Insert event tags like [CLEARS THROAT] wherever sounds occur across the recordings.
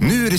Nu är det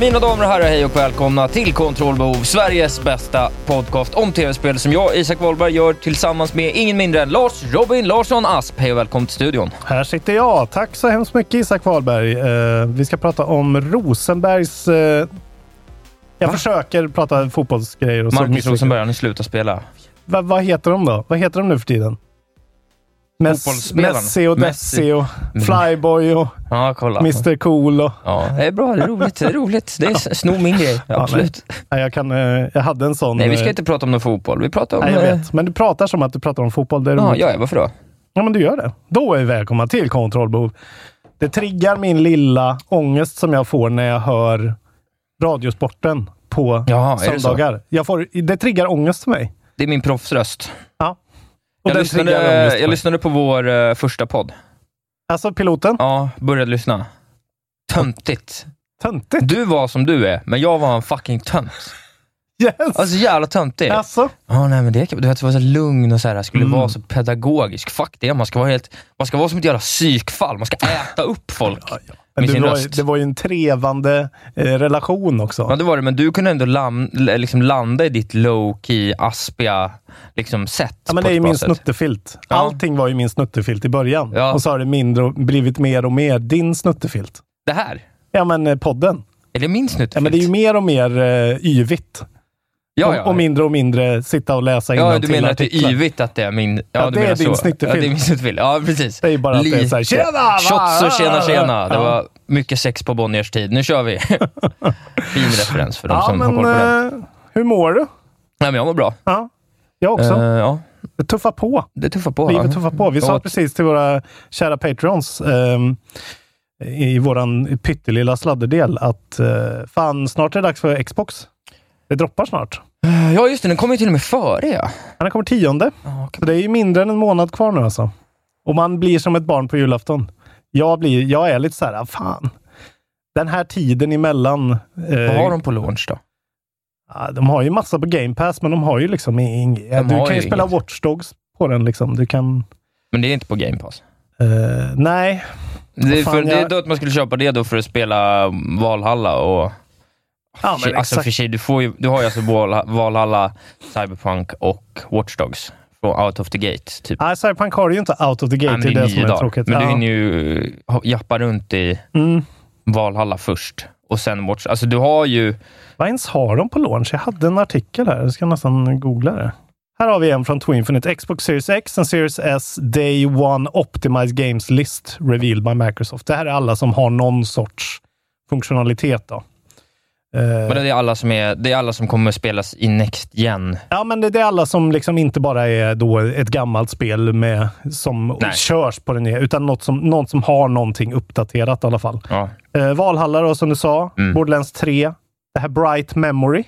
Mina damer och herrar, hej och välkomna till Kontrollbehov, Sveriges bästa podcast om tv-spel som jag, Isak Wahlberg, gör tillsammans med ingen mindre än Lars Robin Larsson Asp. Hej och välkommen till studion. Här sitter jag. Tack så hemskt mycket Isak Wahlberg. Eh, vi ska prata om Rosenbergs... eh, jag försöker prata fotbollsgrejer och så Marcus misslyckas jag. Rosenberg, har ni slutat spela? Va, vad heter de då? Vad heter de nu för tiden? Mess, Fotbollsspelarna. Messi och Messi. Mm. Messi och Flyboy och Ja, kolla. Mr Cool. Och, Ja, det är bra. Det är roligt. Det är roligt. Det är snor min grej. Ja, Absolut. nej. nej, jag, kan, eh, jag hade en sån... Nej, vi ska eh, inte prata om någon fotboll. Vi pratar om... Nej, jag eh, vet. Men du pratar som att du pratar om fotboll. Det är Ja, roligt. ja, ja, varför då? Ja, men du gör det. Då är vi välkomna till kontrollbehov. Det triggar min lilla ångest som jag får när jag hör Radiosporten på Jaha, är det så? söndagar. Jag får, det triggar ångest för mig. Det är min proffsröst. Och Jag den lyssnade, triggar ångest för jag mig. lyssnade på vår eh, första podd. Alltså piloten? Ja, började lyssna. Töntigt. Töntigt. Du var som du är, men jag var en fucking tönt. Yes! Alltså jävla töntig. Alltså, Ja, nej men det kan, du vet, det var så lugn och så här, jag Mm. skulle vara så pedagogisk. Fuck det, man ska vara helt, man ska vara som ett jävla psykfall. Man ska äta upp folk men med du sin var, ju- röst. det var ju en trevande eh, relation också. Ja, det var det, men du kunde ändå lam, l- liksom landa i ditt low-key, aspiga liksom, sätt. Ja, men på det är ju ett min bra sätt. snuttefilt. Ja. Allting var ju min snuttefilt i början. Ja. Och så har det mindre och blivit mer och mer din snuttefilt. Det här? Ja, men eh, podden. Är det min Ja, men det är ju snuttefilt? mer och mer eh, yvigt. Ja, Och, och mindre och mindre sitta och läsa Ja, du innantill menar att det är artiklar. yvigt att det är min... Ja, Ja, du det är menar din så. snuttefilt. Ja, det är min snuttefilt. Ja, precis. Det är bara att det är så här, "Tjena, va?" Shots och tjena, tjena. Det Ja. var mycket sex på Bonniers tid. Nu [LAUGHS] kör vi. fin referens för de Ja, som har men koll på den. eh, hur mår du? Nej, men jag mår bra. Ja, jag också. Eh, ja, Det tuffar på. det tuffar på. ja. Livet tuffar på. Vi sa Ja, precis till våra kära patrons ehm, i våran pyttelilla sladderdel att eh, fan, snart är det dags för Xbox. Det droppar snart. Eh, Ja, just det. Den kommer ju till och med före, ja. Den kommer tionde. Ja, okej. Så det är ju mindre än en månad kvar nu alltså. Och man blir som ett barn på julafton. Jag, blir, jag är lite så här, ah, fan. Den här tiden emellan. Vad eh, har de på launch då? Ja, de har ju massa på Game Pass, men de har ju liksom inget. De du har kan ju ju spela inget. Watch Dogs på den liksom. Du kan... Men det är inte på Game Pass. eh, nej, Det är, fan, för, det är jag- då att man skulle köpa det då för att spela Valhalla och... ja, men alltså exakt. för sig, du, får ju, du har ju alltså Val- Valhalla, Cyberpunk och Watch Dogs. Från Out of the Gate, typ. Nej, Cyberpunk har ju inte out of the gate. Nej, det är det nio som är dagar. tråkigt. Men ja. du hinner ju eh, ha- jappa runt i mm. Valhalla först och sen Watch... Alltså du har ju... Vad ens har de på launch? Jag hade en artikel här. Jag ska nästan googla det. Här har vi en från Twinfinite. Xbox Series X and Series S Day One Optimized Games List Revealed by Microsoft. Det här är alla som har någon sorts funktionalitet. Då. Eh, Men det är alla som, är, det är alla som kommer spelas i Next Gen. Ja, men det, det är alla som liksom inte bara är då ett gammalt spel med, som Nej. körs på den nya, utan något som, någon som har någonting uppdaterat i alla fall. Ja. Eh, Valhalla då, som du sa. Mm. Borderlands 3. Det här Bright Memory.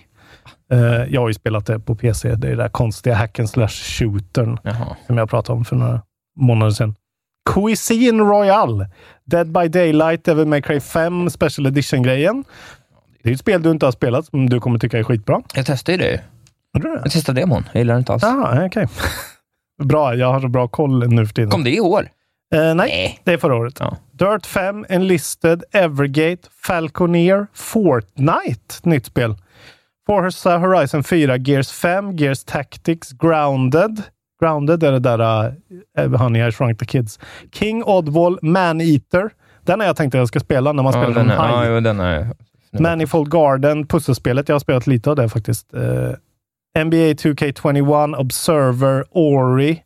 Eh, jag har ju spelat det på PC. Det är det där konstiga hacken slash shootern Jaha. som jag pratade om för några månader sedan. Cuisine Royale. Dead by Daylight, Devil May Cry 5 Special Edition-grejen. Det är ju ett spel du inte har spelat, som du kommer tycka är skitbra. Jag testade ju det. ju. Har du det? Jag [LAUGHS] testade demon. Jag gillar det inte alls. Ah, okej. Bra, jag har så bra koll nu för tiden. Kom det i år? Eh, nej, Nej. det är förra året. Ja. Dirt 5, Enlisted, Evergate, Falconeer, Fortnite, nytt spel. Forza Horizon 4, Gears 5, Gears Tactics, Grounded. Grounded är det där uh, Honey I Shrunk the Kids. King Oddball, Maneater. Den har jag tänkt att jag ska spela när man Ja, spelar den den är, ja, haj. jo, den är... Manifold Garden, pusselspelet. Jag har spelat lite av det faktiskt. Eh, NBA 2K21, Observer, Ori,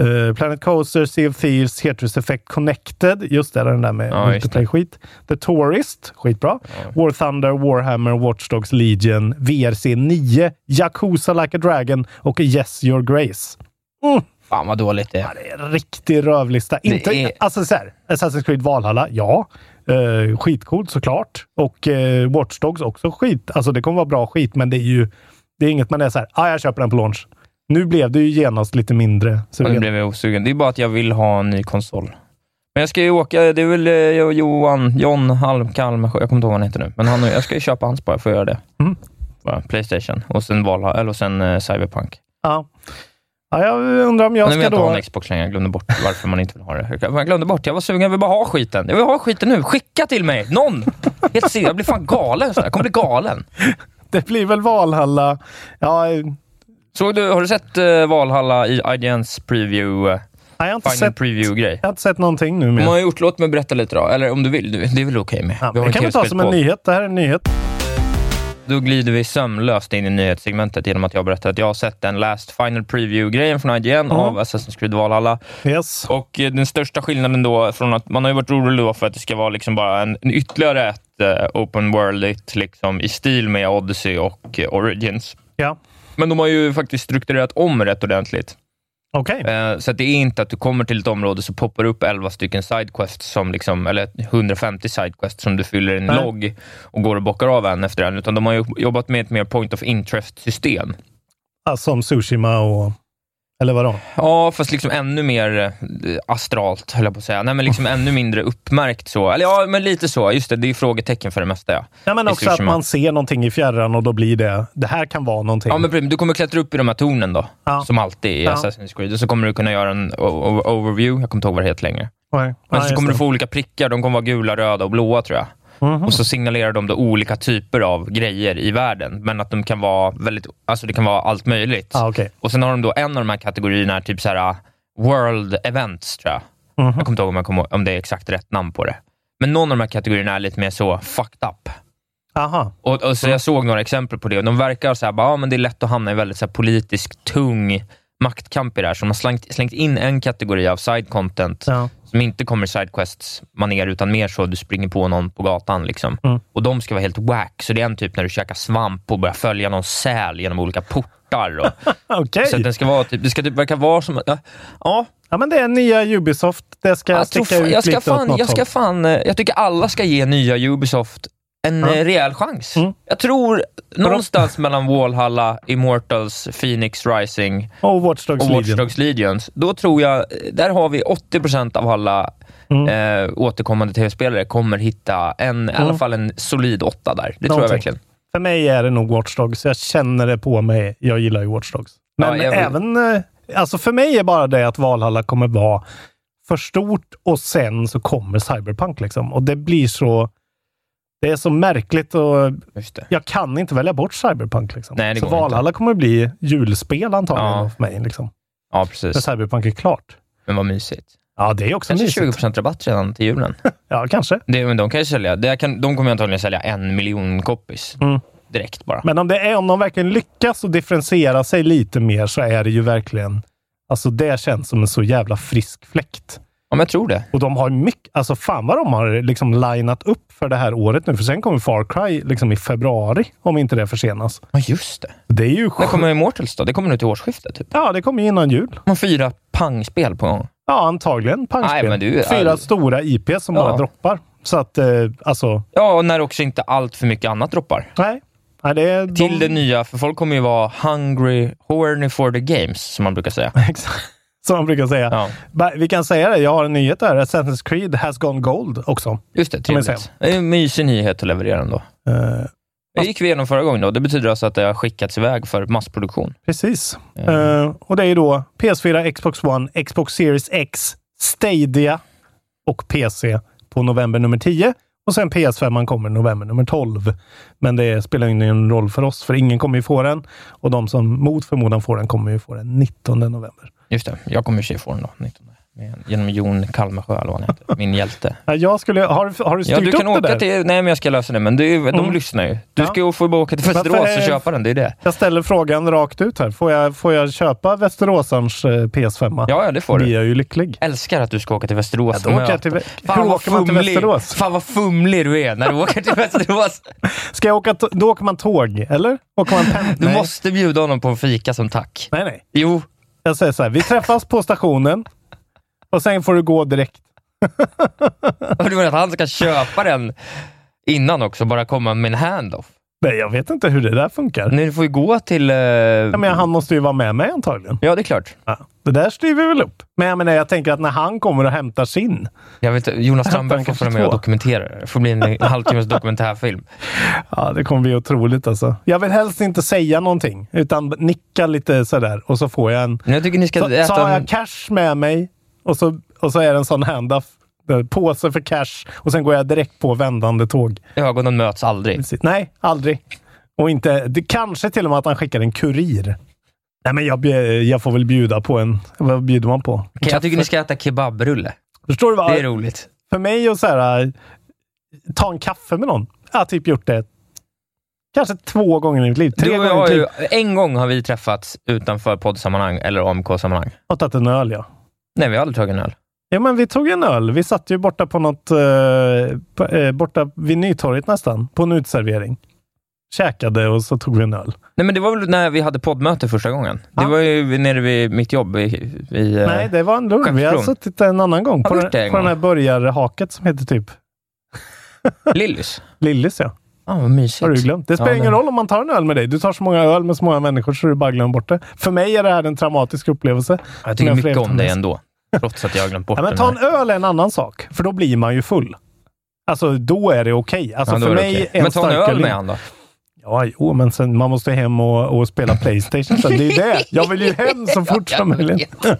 eh, Planet Coaster, Sea of Thieves, Tetris Effect Connected. Just det, den där med Ja, just det. multiplayer-skit. The Tourist, skitbra. War Thunder, Warhammer, Watch Dogs Legion, VRC 9, Yakuza Like a Dragon och Yes Your Grace. Mm. Fan vad dåligt det är. Det är en riktig rövlista. Inte, är- Alltså så här, Assassin's Creed Valhalla, ja. Uh, skitcoolt såklart. Och uh, Watch Dogs också skit. Alltså det kommer vara bra skit, men det är ju det är inget man är så här, ah, jag köper den på launch. Nu blev det ju genast lite mindre. Så Ja, Nu blev jag osugen. Det är bara att jag vill ha en ny konsol. Men jag ska ju åka, det är väl eh, Jo- Johan, John Halmkalm, jag kommer inte ihåg vad han heter nu, men han, jag ska ju köpa hans bara för att göra det. Mm. Bara, Playstation och sen, Valha, eller och sen eh, Cyberpunk. ja. Ja, jag undrar om jag Men nu vill ska jag inte ha då... en Xbox längre, jag glömde bort varför man inte vill ha det. Jag jag glömde bort, jag var sugen, jag vill bara ha skiten. Jag vill ha skiten nu, skicka till mig! Någon! Helt se, jag blir fan galen. så här. Jag kommer bli galen. Det blir väl Valhalla. Ja, eh, Såg du, har du sett eh, Valhalla i IGNs preview, eh, jag, har inte final sett, preview-grej? jag har inte sett någonting nu De mer. har gjort, låt mig berätta lite då. Eller om du vill, du- det är väl okej med. Ja, Vi har det en kan vi ta som en tv-spelspodd. nyhet. Det här är en nyhet. Då glider vi sömlöst in i nyhetssegmentet genom att jag berättar att jag har sett den last final preview-grejen från IGN av Assassin's Creed Valhalla. Yes. Och eh, den största skillnaden då, från att man har ju varit orolig då för att det ska vara liksom bara en, en ytterligare ett eh, open world liksom, i stil med Odyssey och eh, Origins. Ja. Men de har ju faktiskt strukturerat om rätt ordentligt. Okej. Eh, så att det är inte att du kommer till ett område så poppar det upp 11 stycken sidequests, som liksom, eller 150 sidequests som du fyller i en Nej. logg och går och bockar av en efter en, utan de har ju jobbat med ett mer point of interest-system. Ah, som Sushima och... Eller vadå? Ja, fast liksom ännu mer eh, astralt, höll jag på att säga. Nej, men liksom ännu mindre uppmärkt så. Eller ja, men lite så. Just det, det är frågetecken för det mesta. Ja, Ja, men I också att Tsushima. man ser någonting i fjärran och då blir det, det här kan vara någonting. ja men precis. Du kommer klättra upp i de här tornen då, Ja. som alltid i Ja. Assassin's Creed. Och så kommer du kunna göra en o- o- overview. Jag kommer inte ihåg vad det heter längre. Nej. Men Ja, så just kommer det. du få olika prickar. De kommer vara gula, röda och blåa, tror jag. Mhm. Och så signalerar de då olika typer av grejer i världen, men att de kan vara väldigt, alltså det kan vara allt möjligt. Ah, okej. Och sen har de då en av de här kategorierna, är typ så här uh, world events, tror jag. Mhm. Jag kommer inte ihåg om, jag kommer, ihåg- om det är exakt rätt namn på det. Men någon av de här kategorierna är lite mer så fucked up. Aha. Mm. Och, och så Jag såg några exempel på det och de verkar så här, bara, ja, men det är lätt att hamna i väldigt så här, politiskt tung maktkamp i det här. Så de har slängt, slängt in en kategori av side content Ja. som inte kommer sidequests maner utan mer så du springer på någon på gatan. Liksom. Mm. Och de ska vara helt wack. Så det är en typ när du käkar svamp och börjar följa någon säl genom olika portar. Och, [LAUGHS] Okej. så att den ska vara typ, det ska typ verka vara som... Ja, ja Ja, men det är nya Ubisoft. Det ska jag, tror sticka fan, ut jag ska lite åt fan, något jag ska håll. fan... eh, Jag tycker alla ska ge nya Ubisoft en eh, rejäl chans. Mm. Jag tror någonstans mellan Valhalla, Immortals, Phoenix Rising Och Watch Dogs och Watch Legion. Dogs Legions. Då tror jag, eh, där har vi 80% av alla Mm. eh, återkommande tv-spelare kommer hitta en, i alla fall en solid åtta där. Mm. Det tror jag Någonting. verkligen. För mig är det nog Watch Dogs. Jag känner det på mig. Jag gillar ju Watch Dogs. Men Ja, jag vill- även... eh, Alltså för mig är bara det att Valhalla kommer vara för stort och sen så kommer Cyberpunk. liksom. Och det blir så... Det är så märkligt och Just det. jag kan inte välja bort Cyberpunk. Liksom. Nej, det så går inte. Valhalla kommer bli julspel antagligen Ja. för mig. Liksom. Ja, När precis. Cyberpunk är klart. Men vad mysigt. Ja, det är också Kanske mysigt. 20% rabatt redan till julen. [LAUGHS] Ja, kanske. Det, men de kan ju sälja. Det kan, de kommer ju antagligen sälja en miljon kopies. Mm. Direkt bara. Men om, det är, om de verkligen lyckas och differentiera sig lite mer så är det ju verkligen... Alltså det känns som en så jävla frisk fläkt. Ja, men jag tror det. Och de har mycket... Alltså fan vad de har liksom linat upp för det här året nu. För sen kommer Far Cry liksom i februari, om inte det försenas. Ja, just det. Det är ju När sjukt. kommer Immortals då? Det kommer nu till årsskiftet, typ. Ja, det kommer ju innan jul. De har fyra pangspel på gång. Ja, antagligen. Nej, Pangspel. men du- Fyra all- stora IP som Ja. bara droppar. Så att, eh, alltså, Ja, och när också inte allt för mycket annat droppar. nej. nej det är Till det nya, för folk kommer ju vara hungry, horny for the games, som man brukar säga. [LAUGHS] Exakt. Som man brukar säga. Ja. Ba- Vi kan säga det, jag har en nyhet där. Assassin's Creed has gone gold också. Just det, Kan man trevligt. Det är en mysig nyhet att leverera ändå. Eh, Det gick vi igenom förra gången då. Det betyder alltså att det har skickats iväg för massproduktion. Eh, precis. Eh, och det är ju då PS4, Xbox One, Xbox Series X, Stadia och PC på november nummer 10. Och sen PS5 man kommer november nummer 12. Men det spelar ingen roll för oss, för ingen kommer ju få den. Och de som mot förmodan får den kommer ju få den 19 november. Just det, jag kommer i och för sig få den då, 19. Med- Genom Jon Kalmarsjö, eller vad han heter. [LAUGHS] Min hjälte. Ja, Jag skulle, har, har du styrt Ja, du upp kan det åka där? till... Nej, men jag ska lösa det. Men det är, ju- de Mm. lyssnar ju. Du Ja. ska ju få bara åka till Varför Västerås och är- köpa den. Det är det. Jag ställer frågan rakt ut här. Får jag, får jag köpa Västeråsarns eh, PS5? Ja, ja, det får Blir du. jag ju lycklig. Älskar att du ska åka till Ja, Västerås då och åker jag möta. till, Vä- Fan hur vad, åker man till fumlig, Västerås? fan vad fumlig du är när du åker [LAUGHS] till Västerås. Ska jag åka t- då åker man tåg, eller? Åker [LAUGHS] man pen- Du nej. måste bjuda honom på en fika som tack. nej, nej. Jo, Jag säger så här, vi träffas på stationen och sen får du gå direkt. [LAUGHS] och du menar att han ska köpa den innan också, bara komma med en handoff? Nej, jag vet inte hur det där funkar. Nej, du får ju gå till... eh, Ja, men han måste ju vara med mig antagligen. Ja, det är klart. Ja. Det där styr vi väl upp. Men jag, menar, jag tänker att när han kommer och hämtar sin. Jag vet, inte, Jonas Hämtar Strandberg han får kanske följa med och två? dokumentera det. Det får bli en, en [LAUGHS] halvtimmes dokumentärfilm. Ja, det kommer bli otroligt alltså. Jag vill helst inte säga någonting, utan nicka lite sådär och så får jag en... Men jag tycker ni ska Så, äta... så har en- jag cash med mig och så, och så är det en sån handoff. eh, Påse för cash och sen går jag direkt på vändande tåg. Ögonen möts aldrig. Precis. Nej, aldrig. Och inte, det kanske till och med att han skickar en kurir. Nej, men jag, bjö- jag får väl bjuda på en... Vad bjuder man på? Okej, jag tycker ni ska äta kebabrulle. Förstår du? Det är Vad, roligt. för mig att så här, äh, ta en kaffe med någon. Jag har typ gjort det kanske två gånger i mitt liv. Tre Du och gånger typ. i mitt jag, liv. har ju- en gång har vi träffats utanför poddsammanhang eller AMK-sammanhang. Och tagit en öl, ja. Nej, vi har aldrig tagit en öl. Ja, men vi tog en öl. Vi satt ju borta på något... eh, på, eh, borta vid Nytorget nästan. På en utservering. Käkade och så tog vi en öl. Nej, men det var väl när vi hade poddmöte första gången. Det Ja. var ju nere vid mitt jobb. I, i, eh, Nej, det var en lunch. Vi har Skeppsbron. suttit en annan gång. Har På, vi den, gjort det en på den gång? här börjarhaket som heter typ Lillys. Lillis, ja. Ja, vad mysigt. Har du glömt? Det spelar Ja, ingen det- roll om man tar en öl med dig. Du tar så många öl med så många människor så du bara glömmer bort det. För mig är det här en traumatisk upplevelse. Jag tycker Men mycket fler om dig tar- ändå. Trots att jag har glömt bort Ja, men den ta här. en öl är en annan sak, för då blir man ju full. Alltså, då är det okej. Alltså, Ja, då för är det mig okej. är en Men ta en öl starköl- med han då. Ja, jo, men sen, man måste hem och, och spela Playstation sen. Det är ju det. Jag vill ju hem [LAUGHS] så fort [LAUGHS] som Jag möjligt. vet.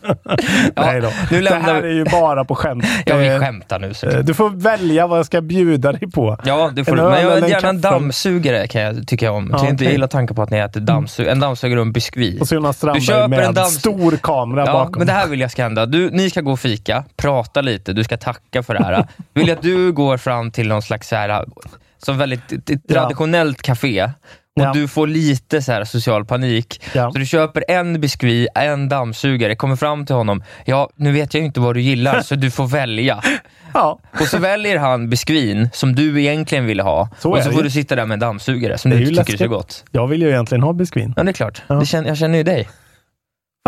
Ja, Nej då. nu Det lämnar här vi- är ju bara på skämt. [LAUGHS] Ja, vi Eh, skämtar nu såklart. eh, Du får välja vad jag ska bjuda dig på. Ja, det får En du. öl Men jag eller en gärna en kaffe. dammsugare kan jag tycka om. Ja, jag inte okej. gillar tanken på att ni äter dammsug en dammsugare och en biskvi. Och så Jonas Du köper Strandberg en med en dans- stor kamera Ja, bakom. men det här vill jag ska hända. Du, ni ska gå och fika, prata lite, du ska tacka för [LAUGHS] det här. Vill jag att du går fram till någon slags så här, som väldigt ett traditionellt café och Ja. du får lite så här social panik. Ja. Så du köper en biskvi, en dammsugare, kommer fram till honom. Ja, nu vet jag ju inte vad du [LAUGHS] gillar så du får välja. Ja. Och så väljer han biskvin som du egentligen ville ha. Så är och så det får ju. du sitta där med en dammsugare som Det du är ju inte tycker är så läskigt. gott. Jag vill ju egentligen ha biskvin. Ja, det är klart. Ja. Det känner, jag känner ju dig.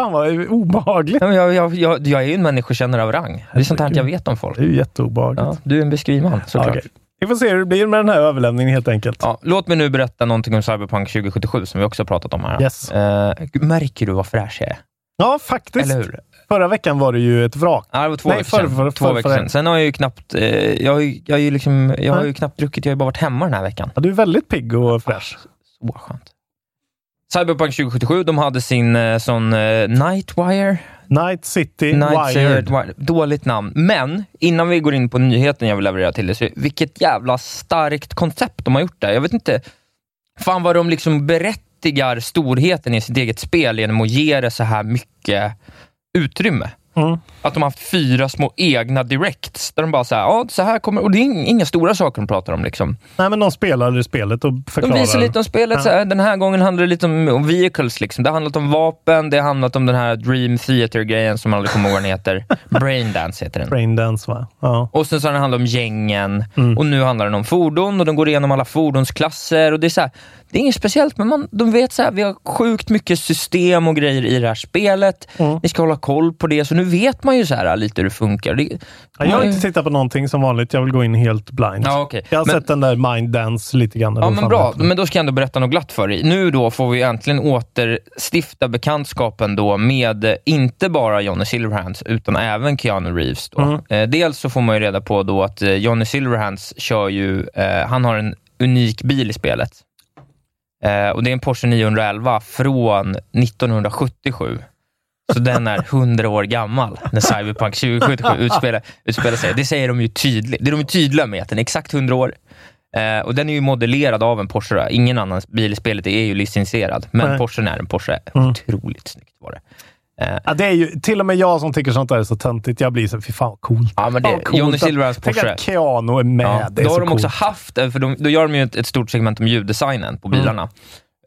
Fan vad obehagligt. Ja, men Jag, jag, jag, jag är ju en människokännare av rang. Det är sånt här jag vet om folk. Det är ju jätteobehagligt. Ja, du är en biskviman såklart. Okej. Vi får se hur det blir med den här överlämningen helt enkelt. Ja, låt mig nu berätta någonting om Cyberpunk 2077 som vi också har pratat om här. Yes. Eh, märker du vad fräsch jag är? Ja, faktiskt. Eller hur? Förra veckan var det ju ett vrak. Ja, det var två Nej, veckor förra- sedan. förra- två förra- veckor förra- sedan. Sen har jag ju knappt, eh, jag, har ju- jag, har ju liksom, jag har ju Nej. knappt druckit, jag har ju bara varit hemma den här veckan. Ja, du är väldigt pigg och fräsch. Så skönt. Cyberpunk 2077, de hade sin eh, sån eh, Nightwire. Night City Night Wired. Wired. Dåligt namn. Men innan vi går in på nyheten jag vill leverera till dig, så vilket jävla starkt koncept de har gjort där. Jag vet inte, fan vad de liksom berättigar storheten i sitt eget spel genom att ge det så här mycket utrymme. Mm. Att de har haft fyra små egna directs, där de bara så här, ja, så här kommer, och det är ing- inga stora saker de pratar om. Liksom. Nej, men de spelar i spelet och De förklarar. visar lite om spelet. Ja. Så här, den här gången handlar det lite om, om vehicles. Liksom. Det har handlat om vapen, det har handlat om den här Dream Theater-grejen som man aldrig kommer ihåg vad [LAUGHS] den heter. Braindance heter den. Braindance, va? Ja. Och sen så har den handlat om gängen Mm. och nu handlar den om fordon och de går igenom alla fordonsklasser. Och det, är så här, det är inget speciellt, men man, de vet så här, vi har sjukt mycket system och grejer i det här spelet. Mm. Ni ska hålla koll på det, så nu vet man ju så här, lite hur det funkar. Det, Ja, Jag har inte tittat på någonting som vanligt. Jag vill gå in helt blind. Mm. Ja, okej. Jag har Men- sett den där Minddance lite grann. eller Ja, vad men fan bra. heter den. Men då ska jag ändå berätta något glatt för dig. Nu då får vi äntligen återstifta bekantskapen då med eh, inte bara Johnny Silverhands, utan även Keanu Reeves. Då. Eh, dels så får man ju reda på då att eh, Johnny Silverhands kör ju, eh, han har en unik bil i spelet. Eh, och Det är en Porsche 911 från 1977. Så den är 100 år gammal när Cyberpunk 2077 utspelar, utspelar sig. Det säger de ju tydligt. Det är de ju tydliga med, att den är exakt 100 år. Eh, och den är ju modellerad av en Porsche. då. Ingen annan bil i spelet är ju licensierad, men Nej. Porschen är en Porsche. Mm. Otroligt snyggt var det. Ja, det är ju, till och med jag som tycker sånt där är så töntigt. Jag blir så fy fan vad coolt. Ja, men det, Fan, vad coolt Johnny att- Silverhands Tänk Porsche. att Keanu är med. Ja, Eh, det är då har så coolt. de Mm. också haft, för de, då gör de ju ett, ett stort segment om ljuddesignen på bilarna.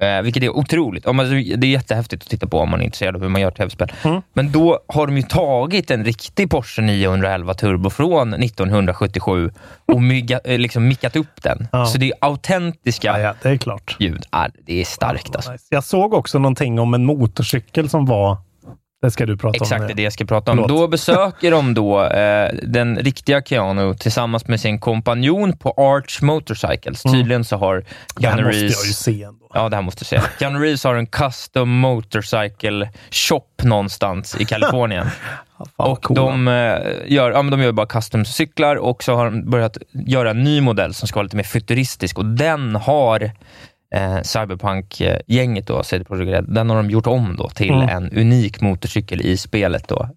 Eh, vilket är otroligt. Om man, det är jättehäftigt att titta på om man är intresserad av hur man gör tv-spel. Mm. Men då har de ju tagit en riktig Porsche 911 Turbo från 1977 och mygga, eh, liksom mickat upp den. Ja. Så det är autentiska Ja, ja, det är klart. ljud. Ah, det är starkt alltså. Nice. Jag såg också någonting om en motorcykel som var... Det ska du prata om. Exakt, det är det jag ska prata om. Förlåt. Då besöker de då eh, den riktiga Keanu tillsammans med sin kompanjon på Arch Motorcycles. Tydligen så har Mm. Det här Keanu måste jag ju Reeves se ändå. Ja, det här måste jag säga. Keanu Reeves har en custom motorcycle shop någonstans i Kalifornien. [LAUGHS] Fan, vad och coola. de, eh, gör, ja, men de gör bara custom cyklar och så har de börjat göra en ny modell som ska vara lite mer futuristisk och den har eh, Cyberpunk-gänget, då, CD Projekt Red, den har de gjort om då till Mm. en unik motorcykel i spelet. Då,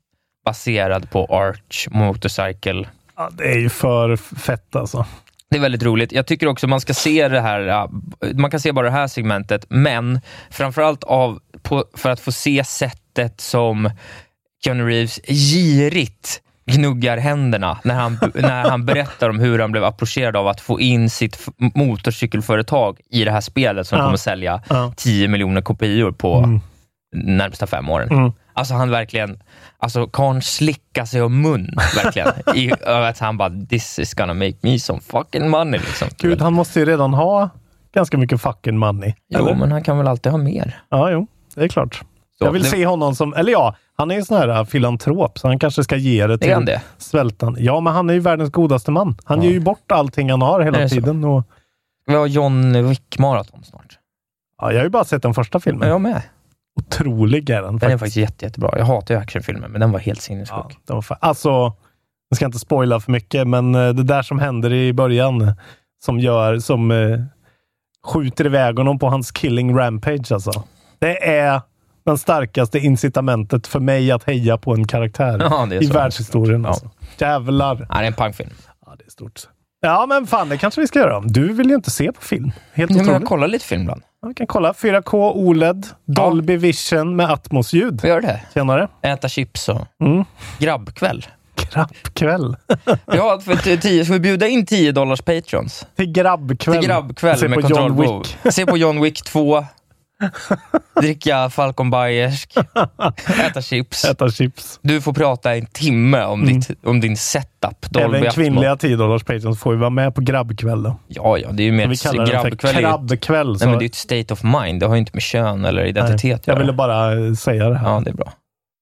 baserad på Arch Motorcycle Ja, det är ju för fett alltså. det är väldigt roligt. Jag tycker också man ska se det här, ja, man kan se bara det här segmentet, men framförallt av, på, för att få se sättet som Keanu Reeves girigt gnuggar händerna när han, när han berättar om hur han blev approcherad av att få in sitt f- motorcykelföretag i det här spelet som Ja. kommer sälja Ja. 10 miljoner kopior på Mm. närmsta fem åren. Mm. Alltså han verkligen, alltså karln slickar sig om mun verkligen. I, över att han bara, this is gonna make me some fucking money. Liksom. Gud, han måste ju redan ha ganska mycket fucking money. jo, eller? men han kan väl alltid ha mer. Ja, jo. Det är klart. Så, jag vill det- se honom som... Eller ja, han är ju sån här äh, filantrop, så han kanske ska ge det Är han till det? svältande. Ja, men han är ju världens godaste man. Han Ja. ger ju bort allting han har Är hela det så? tiden. Och, Vi har John Wick maraton snart. ja, jag har ju bara sett den första filmen. Men jag med. Otrolig är den Den är faktiskt. faktiskt jätte, jättebra. Jag hatar ju actionfilmer, men den var helt sinnessjuk. Ja, den var fa- alltså, jag ska inte spoila för mycket, men eh, det där som händer i början som gör, som eh, skjuter iväg honom på hans killing rampage alltså. Det är den starkaste incitamentet för mig att heja på en karaktär Ja, det är i så. världshistorien. Ja. Alltså. Jävlar. Ja, det är en pangfilm. Ja, det är stort. Ja, men fan, det kanske vi ska göra. Du vill ju inte se på film. Helt Men jag otroligt. kollar lite film ibland. Ja, Vi kan kolla. 4K OLED, E Dolby Vision med Atmos-ljud. Vi gör det. Tjenare. Äta chips och Mm. grabbkväll. Grabbkväll. [LAUGHS] Ja, för t- tio, ska vi bjuda in 10 dollars patrons? Till grabbkväll. Till grabbkväll Se med på John kontrollbehov. Wick. Se på John Wick [LAUGHS] 2. Dricka Falcon Bayersk. Äta chips. Äta chips. Du får prata en timme om, ditt, om din setup. Dolby Mm. Även Atmos. kvinnliga 10 dollars patrons får ju vara med på grabbkväll. Då. Ja, ja, det är ju mer Vi ett kallar den för grabbkväll. är ju- krabbkväll. så- Nej, men det är ju ett state of mind. Det har ju inte med kön eller Nej, identitet jag att göra. ville bara eh, säga det här. Ja, det är bra.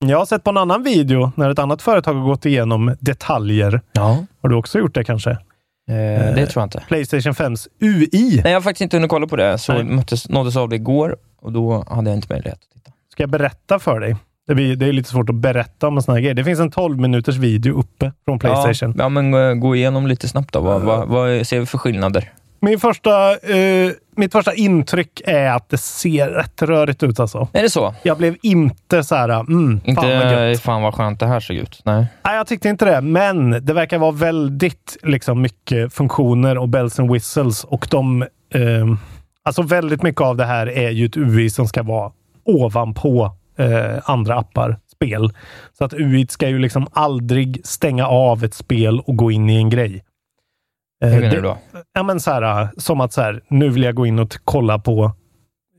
Jag har sett på en annan video när ett annat företag har gått igenom detaljer. Ja. Har du också gjort det kanske? Eh, det tror jag inte. Playstation 5s UI. Nej, jag har faktiskt inte hunnit kolla på det. Så Nej. möttes, nåddes av det igår och då hade jag inte möjlighet att titta. Ska jag berätta för dig? Det, blir, det är lite svårt att berätta om såna här grejer. Det finns en 12 minuters video uppe från Playstation. Ja, ja men eh, gå igenom lite snabbt då. Vad, vad, vad ser vi för skillnader? Min första, eh, mitt första intryck är att det ser rätt rörigt ut alltså. Är det så? Jag blev inte så här, mm, Inte fan vad gött. fan, fan vad skönt det här såg ut. Nej. Nej, jag tyckte inte det, men det verkar vara väldigt liksom, mycket funktioner och bells and whistles. Och de, ehm, alltså väldigt mycket av det här är ju ett UI som ska vara ovanpå eh, andra appar, spel. Så att UI ska ju liksom aldrig stänga av ett spel och gå in i en grej. Eh, Hur menar det- du då? Ja, men så här, äh, som att så här, nu vill jag gå in och t- kolla på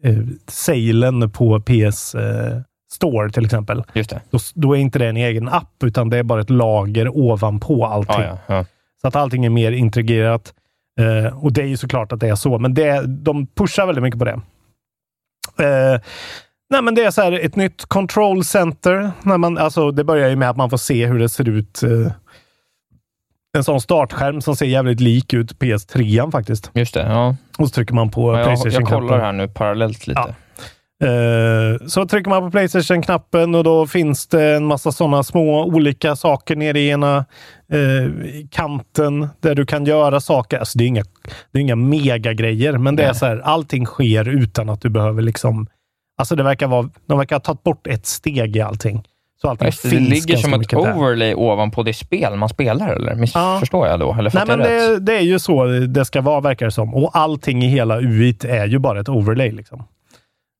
eh, salen på PS eh, Store till exempel. Just det. Då, s- då är inte det en egen app, utan det är bara ett lager ovanpå allting. Ah, Ja, ja, ja. Så att allting är mer integrerat. Eh, och det är ju såklart att det är så, men det, de pushar väldigt mycket på det. Eh, nej, men det är så här ett nytt control center. När man, alltså, det börjar ju med att man får se hur det ser ut. Eh, en sån startskärm som ser jävligt lik ut PS3 an faktiskt. Just det. Ja. Och så trycker man på Jag, jag Playstation-knappen. kollar här nu parallellt lite. Ja. Eh, Så trycker man på Playstation-knappen och då finns det en massa sådana små olika saker nere i ena eh, i kanten där du kan göra saker. Alltså det är inga, det är inga megagrejer, men det är Nej. så här, allting sker utan att du behöver liksom Alltså det verkar vara, de verkar ha tagit bort ett steg i allting. Så allting Just det, det finns ligger ganska som ett mycket där. overlay ovanpå det spel man spelar, eller? Missförstår jag då? Eller Nej, fattar men jag rätt? det, det är ju så det ska vara, verkar det som. Och allting i hela UIT är ju bara ett overlay. Liksom.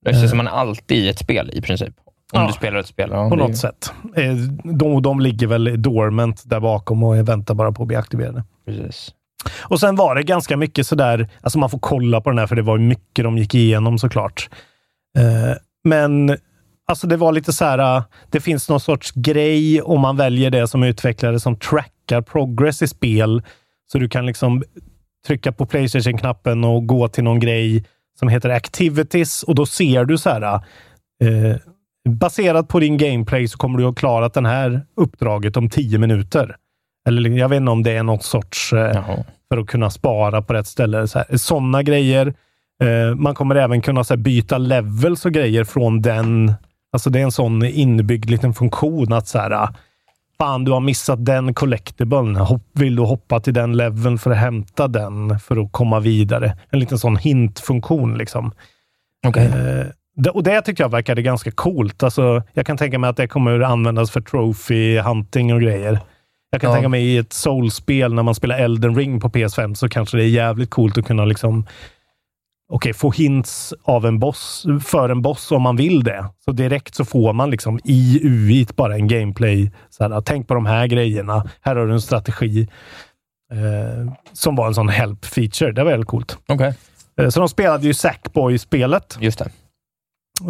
Det känns som man alltid i ett spel, i princip. Om Eh. Ja. du spelar ett spel. Ja, På det är något ju- sätt. Eh, De, de ligger väl dormant där bakom och väntar bara på att bli aktiverade. Precis. Och sen var det ganska mycket sådär, alltså man får kolla på den här för det var ju mycket de gick igenom såklart. Eh, men alltså det var lite så här, eh, det finns någon sorts grej om man väljer det som utvecklare som trackar progress i spel. Så du kan liksom trycka på Playstation-knappen och gå till någon grej som heter Activities och då ser du så här, eh, baserat på din gameplay så kommer du ha klarat den här uppdraget om 10 minuter. Eller jag vet inte om det är något sorts eh, Jaha. för att kunna spara på rätt ställe. Sådana grejer. Eh, man kommer även kunna så här, byta levels och grejer från den. Alltså det är en sån inbyggd liten funktion att så här, ah, fan du har missat den collectiblen. Hopp, vill du hoppa till den leveln för att hämta den för att komma vidare? En liten sån hintfunktion liksom. Okej. Eh, det, och det tyckte jag verkade ganska coolt. Alltså, jag kan tänka mig att det kommer användas för trophy hunting och grejer. Jag kan Ja. tänka mig i ett soulspel när man spelar Elden ring på PS5 så kanske det är jävligt coolt att kunna liksom Okej, få hints av en boss, för en boss om man vill det. Så direkt så får man liksom i UI't bara en gameplay. Så här, "Ah, Tänk på de här grejerna. Här har du en strategi. Eh, som var en sån help-feature. Det var väldigt coolt. Okej. Eh, så de spelade ju Sackboy-spelet. Just det.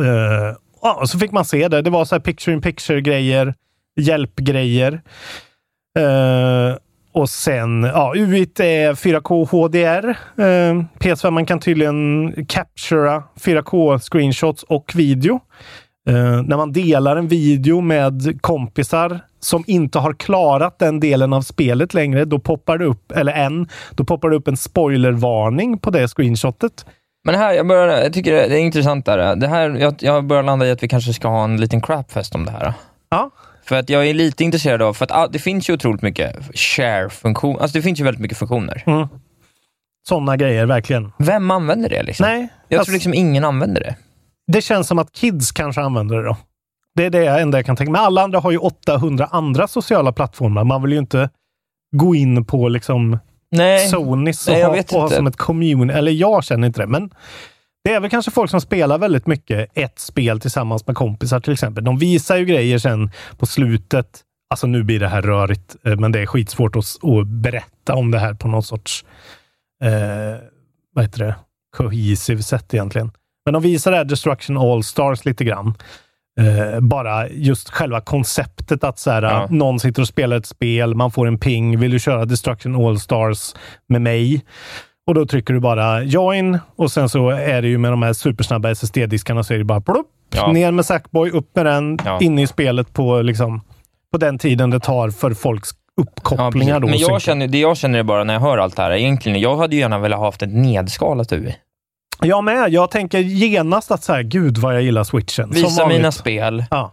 Eh, ja, och så fick man se det. Det var så här picture in picture-grejer, hjälpgrejer. Eh, och sen, ja, UIT är 4K HDR. Eh, PS5 man kan tydligen captura 4K screenshots och video. Eh, när man delar en video med kompisar som inte har klarat den delen av spelet längre, då poppar det upp, eller än, då poppar det upp en spoilervarning på det screenshotet. Men här, jag, börjar, jag tycker det är intressant. Där. Det här, jag, jag börjar landa i att vi kanske ska ha en liten crapfest om det här. Ja, För att jag är lite intresserad av, för att ah, det finns ju otroligt mycket share-funktion, alltså det finns ju väldigt mycket funktioner. Mm. sådana grejer, verkligen. Vem använder det liksom? Nej, jag alltså- tror liksom ingen använder det. det känns som att kids kanske använder det då. Det är det enda jag kan tänka mig. Alla andra har ju 800 andra sociala plattformar. Man vill ju inte gå in på liksom Nej, Sonys och Nej, jag ha, vet och ha inte. som ett commun. Eller jag känner inte det, men det är väl kanske folk som spelar väldigt mycket ett spel tillsammans med kompisar till exempel. De visar ju grejer sen på slutet. Alltså nu blir det här rörigt, eh, men det är skitsvårt att, s- att berätta om det här på någon sorts eh, vad heter det? cohesive sätt egentligen. Men de visar det här Destruction All Stars lite grann. Eh, bara just själva konceptet att så här, Ja. någon sitter och spelar ett spel, man får en ping. Vill du köra Destruction All Stars med mig? Och då trycker du bara join och sen så är det ju med de här supersnabba SSD-diskarna så är det bara plopp, Ja. ner med Sackboy, upp med den, Ja. in i spelet på, liksom, på den tiden det tar för folks Ja, uppkopplingar. precis. då, men och jag synka. känner, det jag känner är bara när jag hör allt det här, egentligen, jag hade ju gärna velat ha haft ett nedskalat UI. Jag med. Jag tänker genast att så här, gud vad jag gillar switchen. Visa vanligt. mina spel, Ja.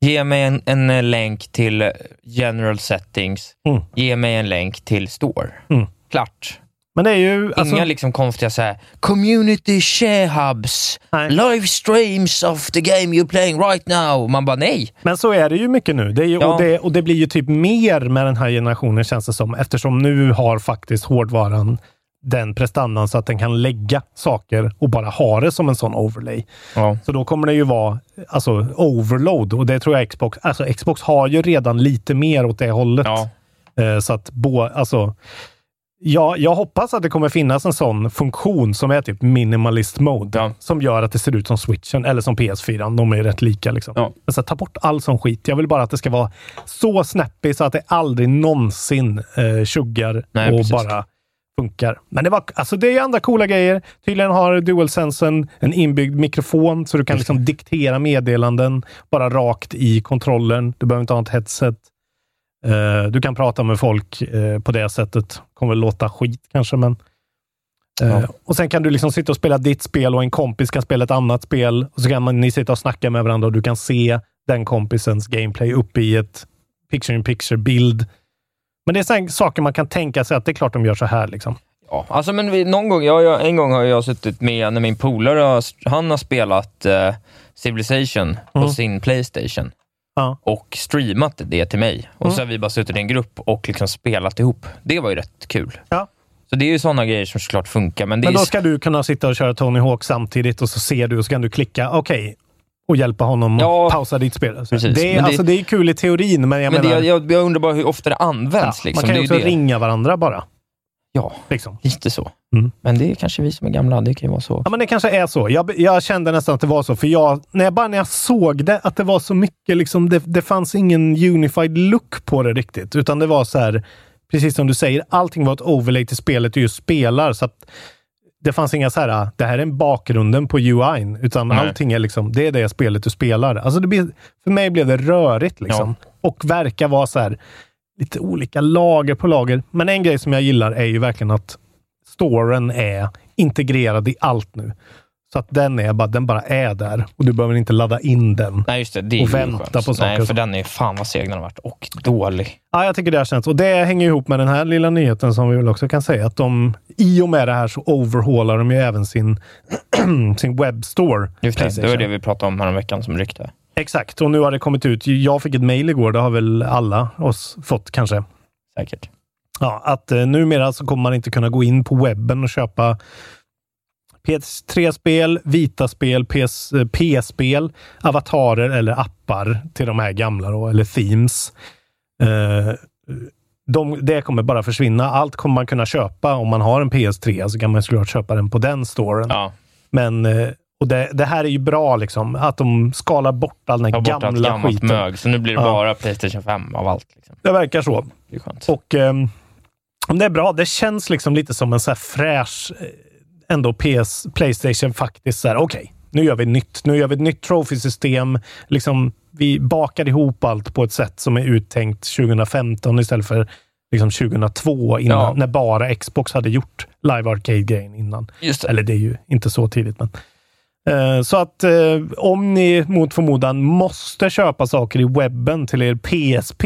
ge mig en, en eh, länk till eh, general settings, Mm. ge mig en länk till store. Mm. Klart. Men det är ju... Alltså, Inga liksom konstiga så här, community share hubs, Nej. live streams of the game you're playing right now. Man bara nej. Men så är det ju mycket nu. Det är ju, Ja. och, det, och det blir ju typ mer med den här generationen känns det som. Eftersom nu har faktiskt hårdvaran den prestandan så att den kan lägga saker och bara ha det som en sån overlay. Ja. Så då kommer det ju vara alltså, overload och det tror jag Xbox... Alltså Xbox har ju redan lite mer åt det hållet. Ja. Eh, Så att bo, alltså, ja, jag hoppas att det kommer finnas en sån funktion som är typ minimalist mode. Ja. Som gör att det ser ut som switchen eller som PS4. De är rätt lika. Liksom. Ja. Men så här, ta bort all sån skit. Jag vill bara att det ska vara så snappy så att det aldrig någonsin eh, tjuggar Nej, och precis. bara funkar. Men det, var, alltså, det är ju andra coola grejer. Tydligen har DualSensen en inbyggd mikrofon så du kan liksom diktera meddelanden bara rakt i kontrollen. Du behöver inte ha ett headset. Eh, du kan prata med folk eh, på det sättet. Kommer väl låta skit kanske, men... Eh, Ja. Och sen kan du liksom sitta och spela ditt spel och en kompis kan spela ett annat spel. Och så kan man, ni sitta och snacka med varandra och du kan se den kompisens gameplay uppe i ett picture-in-picture-bild. Men det är så här saker man kan tänka sig att det är klart de gör så här. Liksom. Ja, alltså men vi, någon gång, jag, jag, en gång har jag suttit med när min polare, har- han har spelat eh, Civilization på Mm. sin Playstation Ja. Mm. och streamat det till mig. Och så har vi bara suttit i en grupp och liksom spelat ihop. Det var ju rätt kul. Ja. Så det är ju sådana grejer som såklart funkar, men det Men är då ska du kunna sitta och köra Tony Hawk samtidigt och så ser du och så kan du klicka okej och hjälpa honom att Ja. pausa ditt spel. Alltså, Precis, det, är, men det- alltså, det är kul i teorin, men jag men det, menar... jag, jag jag undrar bara hur ofta det ja, används. liksom. man kan det ju är också ju det. ringa varandra bara. Ja, Liksom. lite så. Mm. Men det är kanske vi som är gamla, det kan ju vara så. Ja, men det kanske är så. Jag, jag kände nästan att det var så, för jag, när jag, bara när jag såg det, att det var så mycket, liksom, det, det fanns ingen unified look på det riktigt, utan det var så här, precis som du säger, allting var ett overlay till spelet du just spelar, så att det fanns inga så här, ah, det här är bakgrunden på UI'n, utan Nej. allting är liksom, det är det spelet du spelar. Alltså det blir, för mig blev det rörigt liksom. Och verkar vara så här, lite olika lager på lager. Men en grej som jag gillar är ju verkligen att storen är integrerad i allt nu. Så att den, är bara, den bara är där och du behöver inte ladda in den. Nej, just det. det är Och ju vänta skönt. på saker Nej, och för så. den är fan vad seg den har varit. Och dålig. Ja, jag tycker det har känts. Och det hänger ihop med den här lilla nyheten som vi väl också kan säga. Att de, I och med det här så overhaular de ju även sin, [CLEARS THROAT] sin webbstore. Just det, det var PlayStation. det vi pratade om häromveckan som rykte. Exakt, och nu har det kommit ut. Jag fick ett mejl igår, det har väl alla oss fått kanske. Säkert. Ja, att eh, numera så kommer man inte kunna gå in på webben och köpa PS3-spel, vita-spel, PS, eh, PS-spel, avatarer eller appar till de här gamla då, eller themes. Eh, de, det kommer bara försvinna. Allt kommer man kunna köpa om man har en PS3, så kan man såklart köpa den på den storen. Ja, Men eh, och det, det här är ju bra, liksom, att de skalar bort all den ta här bort allt gamla gammalt skiten. mög. Så nu blir det Ja. bara Playstation 5 av allt. Liksom. Det verkar så. Det är skönt. Och ehm, det är bra. Det känns liksom lite som en så här fräsch eh, ändå PS, Playstation faktiskt. så här, Okej, nu gör vi nytt. Nu gör vi ett nytt trophy-system. Liksom, vi bakar ihop allt på ett sätt som är uttänkt 2015 istället för liksom 2002, innan, Ja. när bara Xbox hade gjort Live Arcade-grejen innan. Just det. Eller det är ju inte så tidigt, men. Eh, Så att eh, om ni mot förmodan måste köpa saker i webben till er PSP,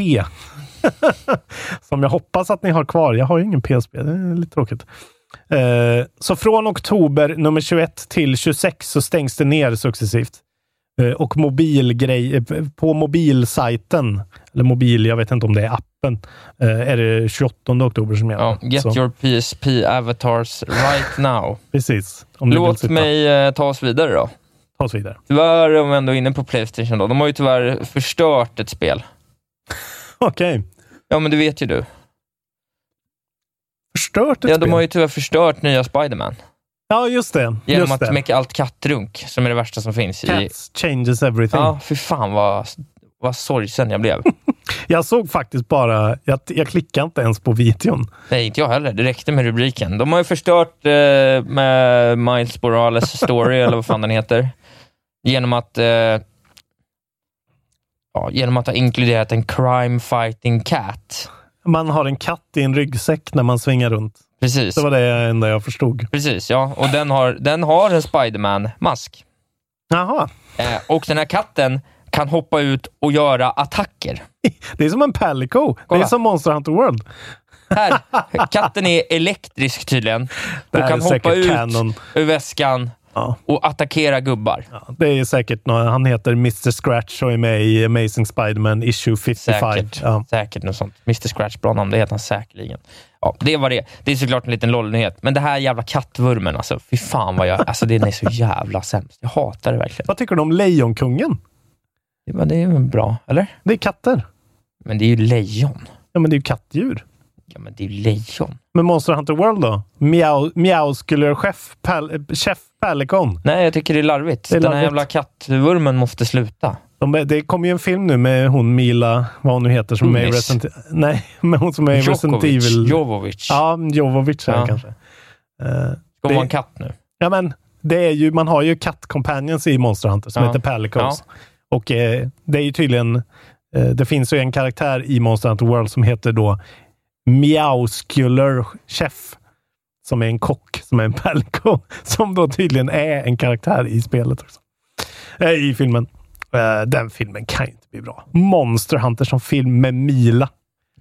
[LAUGHS] som jag hoppas att ni har kvar. Jag har ju ingen PSP, det är lite tråkigt. Eh, Så från oktober nummer 21 till 26 så stängs det ner successivt. Eh, Och mobilgrej, eh, på mobilsajten, eller mobil, jag vet inte om det är appen, eh, är det 28 oktober som gäller. Ja, get Så, your PSP avatars [LAUGHS] right now. Precis. Om ni vill Låt sitta, mig eh, ta oss vidare då. ta oss vidare. [LAUGHS] Tyvärr, om vi ändå är inne på Playstation, då, de har ju tyvärr förstört ett spel. Okej. Ja, men det vet ju du. Förstört ett Ja, spel? de har ju tyvärr förstört nya Spiderman Ja, just det. genom just att det. meka allt kattrunk, som är det värsta som finns. I... Cats changes everything. Ja, fy fan vad, vad sorgsen [LAUGHS] jag blev. Jag såg faktiskt bara... Jag, jag klickade inte ens på videon. Nej, inte jag heller. Det räckte med rubriken. De har ju förstört eh, med Miles Morales story, eller vad fan den heter, genom att, eh, ja, genom att ha inkluderat en crime fighting cat. Man har en katt i en ryggsäck när man svingar runt. Precis. Det var det enda jag förstod. Precis, ja. Och den har, den har en Spiderman-mask. Jaha. Eh, och den här katten kan hoppa ut och göra attacker. Det är som en Palico. Det Kolla. är som Monster Hunter World. Här, katten är elektrisk tydligen Det och här kan är säkert hoppa ut canon. ur väskan Ja. och attackera gubbar. Ja, det är säkert någon, Han heter Mr Scratch och är med i Amazing Spider-Man issue 55. Säkert. Ja. Säkert något sånt. Mr Scratch, bra namn. Det heter han säkerligen. Ja, det var det. Det är såklart en liten lollnyhet, men det här jävla kattvurmen alltså. Fy fan vad jag... Alltså den är så jävla sämst. Jag hatar det verkligen. Vad tycker du om Lejonkungen? Det, men det är ju bra, eller? Det är katter. Men det är ju lejon. Ja, men det är ju kattdjur. Ja, men det är ju lejon. Men Monster Hunter World då? Miau, miauskulör chef, pal, eh, chef Palicon. Nej, jag tycker det är larvigt. Det är Den här larvigt. jävla kattvurmen måste sluta. De, det kom ju en film nu med hon Mila, vad hon nu heter, som är i Kunis. Resident Nej, [LAUGHS] men hon som är i Resident Djokovic. Evil. Jovovic. Ja, Jovovic är det Ja. kanske. Eh, Ska det- vara en katt nu. ja, men det är ju, man har ju kattcompanions i Monster Hunter som Ja. heter Palicos. Och eh, det är ju tydligen, eh, det finns ju en karaktär i Monster Hunter World som heter då Meowscular Chef. Som är en kock, som är en [LAUGHS] Palico. Som då tydligen är en karaktär i spelet också. Eh, I filmen. Eh, den filmen kan ju inte bli bra. Monster Hunter som film med Mila.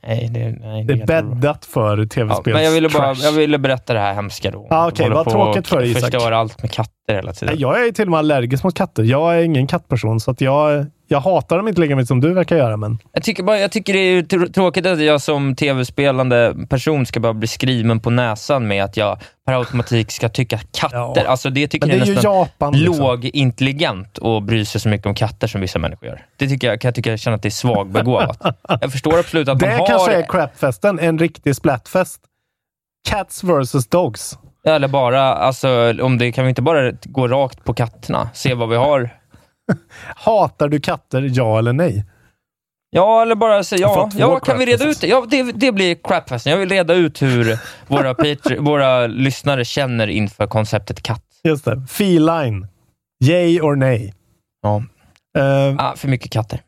Nej, det, nej, Det är kan jag inte bäddat för Ja, tv-spels men jag ville, bara, trash. jag ville berätta det här hemska då. Ah, okej, Håller vad på tråkigt för och dig, Isak. Förstör allt med katter hela tiden. Nej, Jag är till och med allergisk mot katter. Jag är ingen kattperson, så att jag, jag hatar dem inte lika mycket som du verkar göra. Men Jag tycker, bara, jag tycker det är tr- tråkigt att jag som tv-spelande person ska bara bli skriven på näsan med att jag per automatik ska tycka katter. Ja. Alltså det tycker Men det jag är ju nästan Japan, liksom. lågintelligent att bry sig så mycket om katter som vissa människor gör. Det tycker jag, kan jag tycka känna att det [LAUGHS] är svagbegåvat. jag förstår absolut att de det har... kanske är crapfesten, en riktig splatfest. Cats vs Dogs. Eller bara, alltså, om det, kan vi inte bara gå rakt på katterna? Se vad vi har? Hatar du katter, ja eller nej? Ja, eller bara säga Jag får ja. två ja kan vi reda ut crapfests. det? Ja, det, det blir crapfesten. Jag vill reda ut hur [LAUGHS] våra, patri- våra lyssnare känner inför konceptet katt. Just det. Feline. Yay or nej? Ja. Eh, Ah, för mycket katter.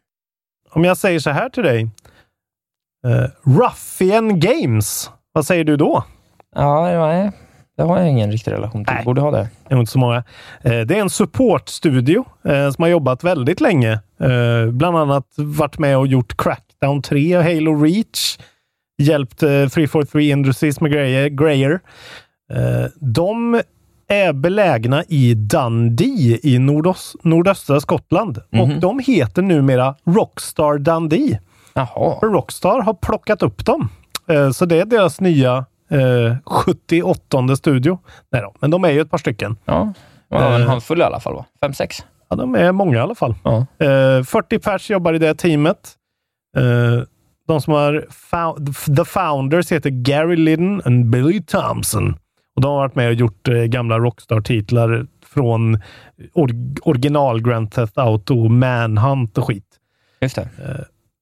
om jag säger så här till dig. Uh, Ruffian Games. Vad säger du då? Ja, nej. Det har jag ingen riktig relation till. Nej. Borde ha det. Det är inte så många. Eh, Det är en supportstudio eh, som har jobbat väldigt länge. Eh, Bland annat varit med och gjort Crackdown 3 och Halo Reach. Hjälpt eh, 343 Industries med grejer. grejer. Eh, De är belägna i Dundee i nordos- nordöstra Skottland. Och de heter numera Rockstar Dundee. Jaha. Och Rockstar har plockat upp dem. Eh, Så det är deras nya eh, 78 studio. Nej då, men de är ju ett par stycken. Ja. Ja, en Eh. handfull i alla fall, va? Fem, sex? Ja, de är många i alla fall. Ja. Eh, 40 pers jobbar i det teamet. Eh, de som har found, The Founders heter Gary Lydon och Billy Thompson. Och de har varit med och gjort eh, gamla Rockstar-titlar från or- original Grand Theft Auto, Manhunt och skit. Just det.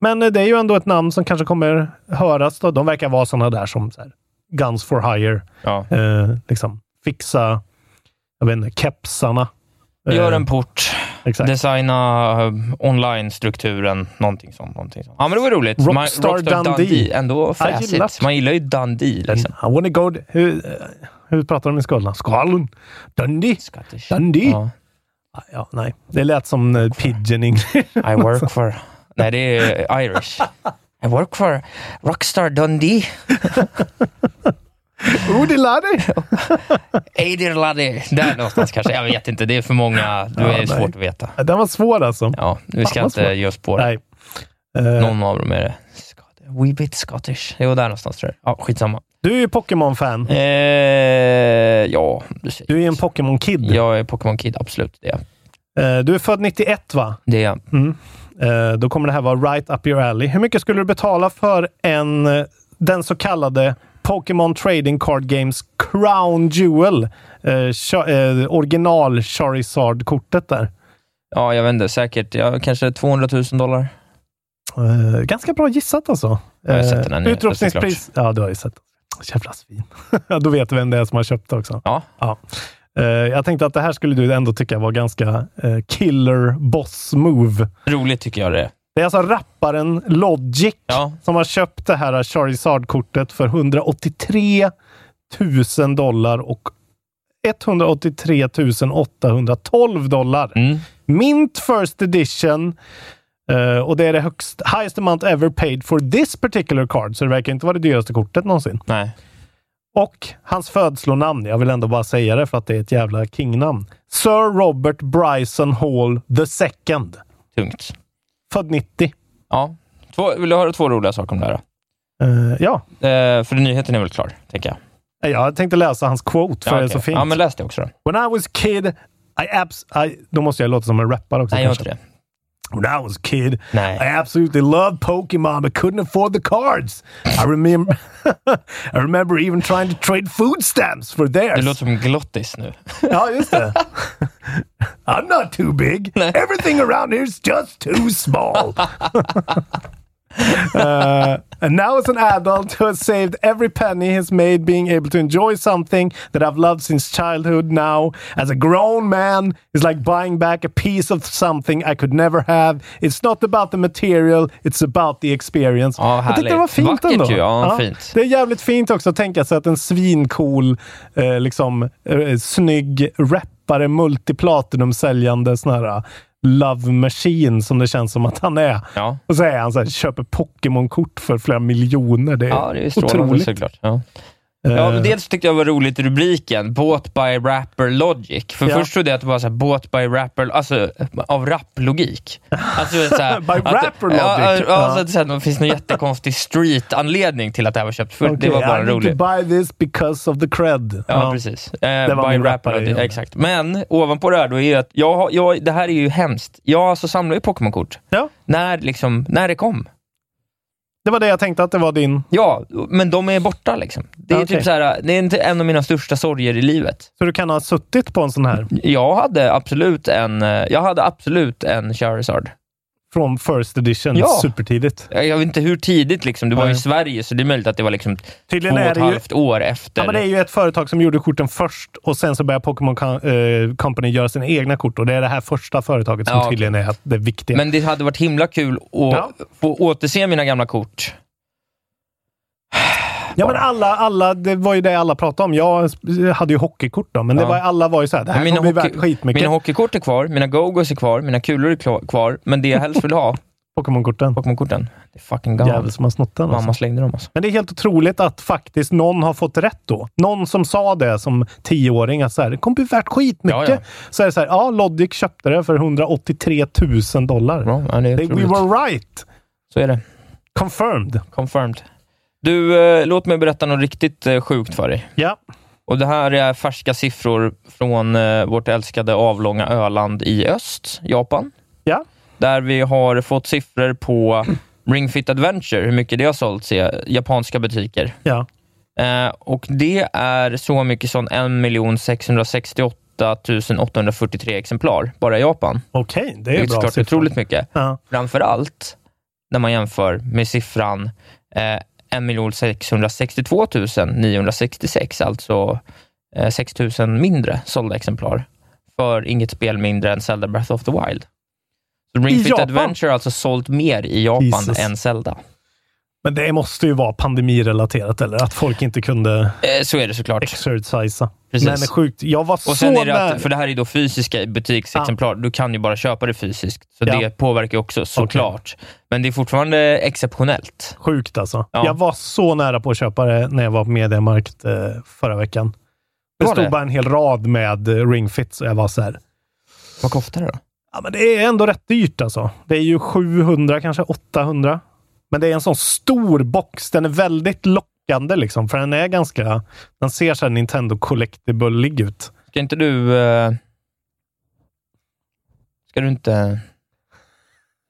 Men eh, det är ju ändå ett namn som kanske kommer höras. Då. De verkar vara sådana där som så här, Guns for Hire. Ja. Eh, liksom fixa, jag vet inte, kepsarna. Gör Eh, en port. exakt. Designa eh, online-strukturen. Någonting sånt. Någonting sånt. Ja, men det var roligt. Man- Rockstar Dundee. Ändå fräsigt. gillar- Man gillar ju Dundee. Liksom. I wanna go... d- Hur, eh, hur pratar de i Skottland? Skålen? Dundee? Scottish. Dundee? Ja. Ah, Ja, nej, det lät som eh, pidgin English. I work for... Nej, det är Irish. I work for Rockstar Dundee. [LAUGHS] oh, det lär dig! Eidir Laddy. Där någonstans kanske. Jag vet inte. Det är för många. Det Ja, är nej. svårt att veta. Den var svår alltså. Ja, vi ska vad inte svårt. ge oss på det. Nej. Eh, Någon av dem är det. Scott- Wee bit Scottish. Jo, där någonstans tror jag. Ja, skitsamma. du är ju Pokémon-fan. Eh, ja, du säger. Du är en Pokémon-kid. Jag är Pokémon Kid, absolut. Det är jag. Eh, du är född 91, va? Det är jag. Eh, då kommer det här vara right up your alley. Hur mycket skulle du betala för en, eh, den så kallade Pokémon Trading Card Games Crown Jewel? Eh, Cha- eh, original Charizard-kortet där. Ja, jag vet inte. Säkert. Ja, kanske 200 000 dollar. Eh, ganska bra gissat alltså. Jag har sett Eh, den här nyheten, Utropningspris. Ja, du har ju sett den. Jävla svin. [LAUGHS] Då vet du vem det är som har köpt det också. Ja. Eh, jag tänkte att det här skulle du ändå tycka var ganska eh, killer boss move. Roligt tycker jag det är. Det är alltså rapparen Logic Ja. som har köpt det här Charizard-kortet för 183 000 dollar och 183 812 dollar. Mm. Mint first edition. Eh, och det är det högst, highest amount ever paid for this particular card, så det verkar inte vara det dyraste kortet någonsin. Nej. Och hans födslovnamn, jag vill ändå bara säga det för att det är ett jävla kingnamn. Sir Robert Bryson Hall the second. Tungt. Född 90. Ja. Två, vill du höra två roliga saker om det här? då? Eh, ja, Eh, för nyheten är väl klar, tänker jag. jag tänkte läsa hans quote för ja, det är okej. så fint. Ja, men läs det också då. When I was kid, I abs... I... Då måste jag låta som en rappare också. Nej, jag gör kanske. inte det. When I was a kid, Nej. I absolutely loved Pokemon, but couldn't afford the cards. I remember, [LAUGHS] I remember even trying to trade food stamps for Du theirs. låter som en glottis nu. ja, just det. [LAUGHS] I'm not too big. Everything around here is just too [LAUGHS] small. Uh, and now, as an adult who has saved every penny he's made, being able to enjoy something that I've loved since childhood, now, as a grown man, is like buying back a piece of something I could never have. It's not about the material, it's about the experience. Ja, Jag tyckte det var härligt. fint Vackert ändå. ju. Ja, fint. Det är jävligt fint också att tänka sig att en svincool, eh, liksom, eh, snygg rappare, multiplatinum-säljande sån här love machine som det känns som att han är. Ja. Och så är han så här, köper Pokémon-kort för flera miljoner. Det är, Ja, det är strålande otroligt. Eh. såklart. Ja. Ja, men dels tyckte jag var roligt i rubriken, Bought by Rapper Logic. För Ja. först trodde jag att det var så här, Bought by Rapper, alltså av rapplogik. Alltså, du vet, så [LAUGHS] här, By att, rapper logic. Ja, ja, Ja. Alltså, att det så här, det finns någon jättekonstig street-anledning till att det här var köpt först. det var bara I en need rolig. to buy this because of the cred. Ja, precis. Eh, Det var by min rapper, rappare, logic. ja. Exakt. Men ovanpå det här då är ju att, jag, har- jag, det här är ju hemskt. Jag alltså samlar ju Pokémon-kort. Ja. När, liksom, när det kom. Det var det jag tänkte att det var din. Ja, men de är borta liksom. Det är, Ja, okej. typ så här, det är inte en av mina största sorger i livet. Så du kan ha suttit på en sån här Jag hade absolut en, eh, jag hade absolut en Charizard. från first edition Ja. supertidigt. Jag jag vet inte hur tidigt, liksom. det var Nej. i Sverige, så det är möjligt att det var liksom Tydligen två och är ett det ju halvt år efter. Ja, men det är ju ett företag som gjorde korten först och sen så börjar Pokémon Co- eh, Company göra sina egna kort och det är det här första företaget som Ja, okej. tydligen är det viktiga. Men det hade varit himla kul att Ja. få återse mina gamla kort. ja, men alla, alla, det var ju det alla pratade om. Jag hade ju hockeykort då, men det Ja. var, alla var ju såhär, det här Men mina, kommer bli värt hockey- skitmycket. mina hockeykort är kvar, mina go-go's är kvar, mina kulor är kla- kvar, men det jag helst vill ha, [LAUGHS] Pokémon-korten. Pokémon-korten, det är fucking galet. Jävel som har snott den. Alltså. Mamma slängde dem alltså. Men det är helt otroligt att faktiskt någon har fått rätt då. Någon som sa det som tioåring, att så här, det kommer bli värt skitmycket. Ja, ja. Så är det så här, ja, Lodic köpte det för 183 000 dollar. Bra, ja, det They- är We otroligt. were right! Så är det. Confirmed. Confirmed. Du, eh, låt mig berätta något riktigt eh, sjukt för dig. Ja. Och Det här är färska siffror från eh, vårt älskade avlånga Öland i öst, Japan. Ja. Där vi har fått siffror på Ring Fit Adventure, hur mycket det har sålts i eh, japanska butiker. Ja. Eh, och Det är så mycket som 1 668 843 exemplar bara i Japan. Okej, det är Vilket bra såklart är siffror. otroligt mycket. Ja. Framför allt när man jämför med siffran eh, 1 662 966, alltså eh, 6 000 mindre sålda exemplar, för inget spel mindre än Zelda Breath of the Wild. Så Ring I Fit Japan? Adventure har alltså sålt mer i Japan Jesus. än Zelda. Men det måste ju vara pandemirelaterat, eller? Att folk inte kunde Eh, så är det såklart. exercisa. Precis. Men sjukt. Jag var Och så sen är det nära. att, för det här är då fysiska butiksexemplar, du kan ju bara köpa det fysiskt, så Ja. det påverkar ju också såklart. Men det är fortfarande exceptionellt. Sjukt alltså. Ja. Jag var så nära på att köpa det när jag var på Mediamarkt eh, förra veckan. Det Var stod det? bara en hel rad med eh, Ring Fit, så jag var så här. Vad kostar det då? Ja, men det är ändå rätt dyrt alltså. Det är ju 700, kanske 800. Men det är en sån stor box. Den är väldigt lockande liksom, för den är ganska... Den ser så här Nintendo Collectible ut. Ska inte du... eh, Ska du inte... Ska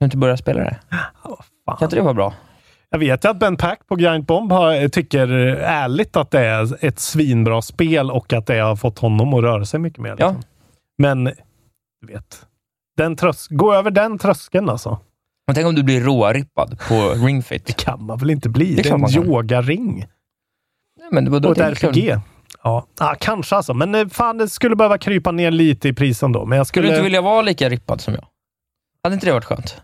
du inte börja spela det? Fan. Kan inte det vara bra? Jag vet att Ben Pack på Giant Bomb har, eh, tycker ärligt att det är ett svinbra spel och att det har fått honom att röra sig mycket mer. Ja. liksom. Men, du vet. Den trös- gå över den tröskeln alltså. Men tänk om du blir rårippad på Ring Fit. Det kan man väl inte bli? Det Det är kan en man kan. yogaring Nej, men det var då och ett jag tänkte- RPG. Ja, ah, kanske alltså. Men eh, fan, det skulle behöva krypa ner lite i prisen då. Men jag Skulle skulle, du inte inte, vilja vara lika rippad som jag? Hade inte det varit skönt?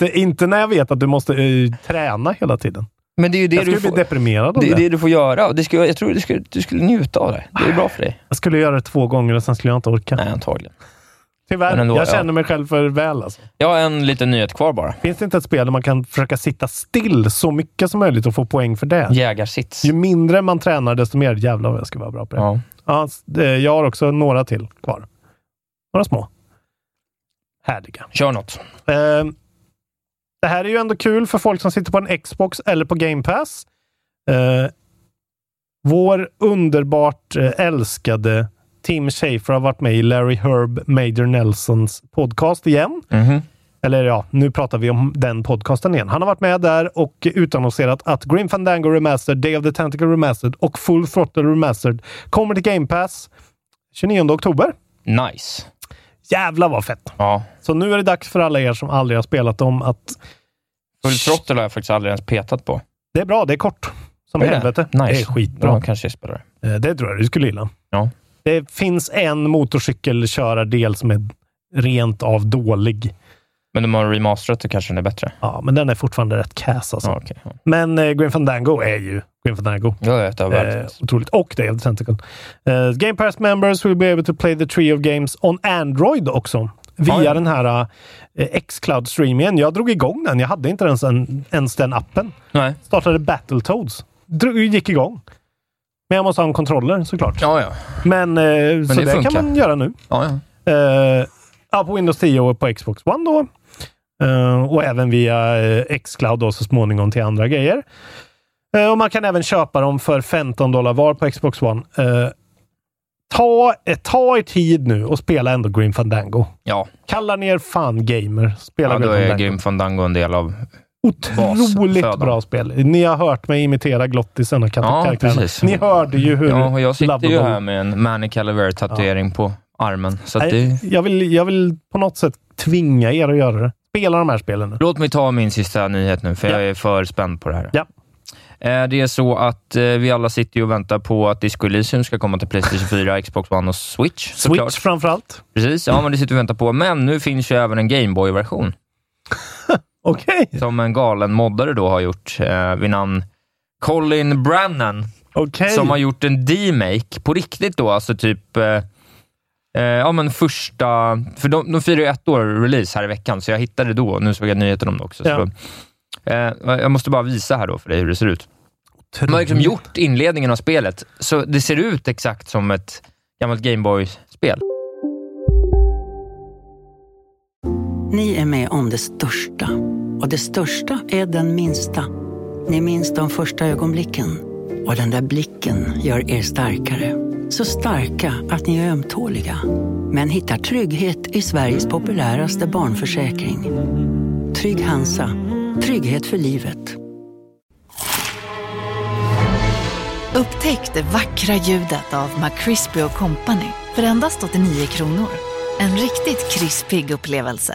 inte, när jag vet att du måste eh, träna hela tiden. Men det är ju det jag skulle du bli får... deprimerad om Det det. är det du får göra. Och Det skulle, jag tror du skulle, du skulle njuta av det. Det är bra för dig. Jag skulle göra det två gånger och sen skulle jag inte orka. Nej, antagligen. Tyvärr, Men ändå, jag ja. känner mig själv för väl alltså. Jag har en liten nyhet kvar bara. Finns det inte ett spel där man kan försöka sitta still så mycket som möjligt och få poäng för det? Jägarsits. Ju mindre man tränar, desto mer jävlar vad jag ska vara bra på det. Ja. Ja. s- eh, jag har också några till kvar. Några små. Härliga. Kör något. Eh, det här är ju ändå kul för folk som sitter på en Xbox eller på Game Pass. Eh, vår underbart eh, älskade Tim Schafer har varit med i Larry Herb Major Nelsons podcast igen. Mhm. Eller ja, nu pratar vi om den podcasten igen. Han har varit med där och utannonserat att Grim Fandango Remastered, Day of the Tentacle Remastered och Full Throttle Remastered kommer till Game Pass 29 oktober. Nice. Jävlar vad fett! Ja. Så nu är det dags för alla er som aldrig har spelat dem att Full throttle har jag faktiskt aldrig ens petat på. det är bra, det är kort. Som Är det? helvete. Nice. Det är skitbra. Ja, kanske jag spelar det. Eh, Det tror jag du skulle gilla. Ja. Det finns en motorcykelkörardel som är rent av dålig. Men de har remasterat det kanske den är bättre. Ja, men den är fortfarande rätt kass alltså. Ja, okej. Ja. Men eh, Grim Fandango är ju Grim Fandango. Jag vet, det har Eh, varit- otroligt. Och Day of the Tentacle. Eh, Game Pass members will be able to play the tree of games on Android också. via Ja, ja. den här eh, Xcloud streamingen. Jag drog igång den. Jag hade inte ens, en, ens den appen. Nej. Startade Battletoads. Drog, gick igång. Men jag måste ha en kontroller såklart. Ja, ja. Men, eh, så det det, kan funkar. man göra nu. ja, ja. Eh, ja, på Windows 10 och på Xbox One då. Eh, och även via eh, Xcloud då så småningom till andra grejer. Eh, och man kan även köpa dem för 15 dollar var på Xbox One. Eh, ta, eh, ta er tid nu och spela ändå Green Fandango. ja. Kalla ner fan gamer. Spela ja då Grim är Fandango. Grim Fandango en del av... Otroligt basfödan. bra spel. Ni har hört mig imitera glottisen och kat- Ja, karaktärerna. precis. Ni hörde ju hur Ja, och jag sitter ju lovable- här med en Manny Calavera-tatuering på armen. Så att det... Nej, jag, vill, jag vill på något sätt tvinga er att göra det. Spela de här spelen nu. Låt mig ta min sista nyhet nu, för Ja. jag är för spänd på det här. Ja. Eh, Det är så att eh, vi alla sitter ju och väntar på att Disco Elysium ska komma [LAUGHS] till Playstation 4, Xbox One och Switch. såklart. Switch framförallt. Precis, ja men det sitter vi och väntar på. Men nu finns ju även en Gameboy-version, Okej. som en galen moddare då har gjort eh, vid namn Colin Brannan, Okej. som har gjort en D-make på riktigt då, alltså typ eh, eh, Ja men första, för de, de firar ju ett år release här i veckan, så jag hittade det då. Nu såg jag nyheten om det också. Ja. Så, eh, jag måste bara visa här då för dig hur det ser ut. De har liksom Mm. gjort inledningen av spelet, så det ser ut exakt som ett gammalt Gameboy-spel. Ni är med om det största. Och det största är den minsta. Ni minns de första ögonblicken. Och den där blicken gör er starkare. Så starka att ni är ömtåliga. Men hittar trygghet i Sveriges populäraste barnförsäkring. Trygg Hansa. Trygghet för livet. Upptäck det vackra ljudet av McCrispy Company för endast 89 kronor. En riktigt krispig upplevelse.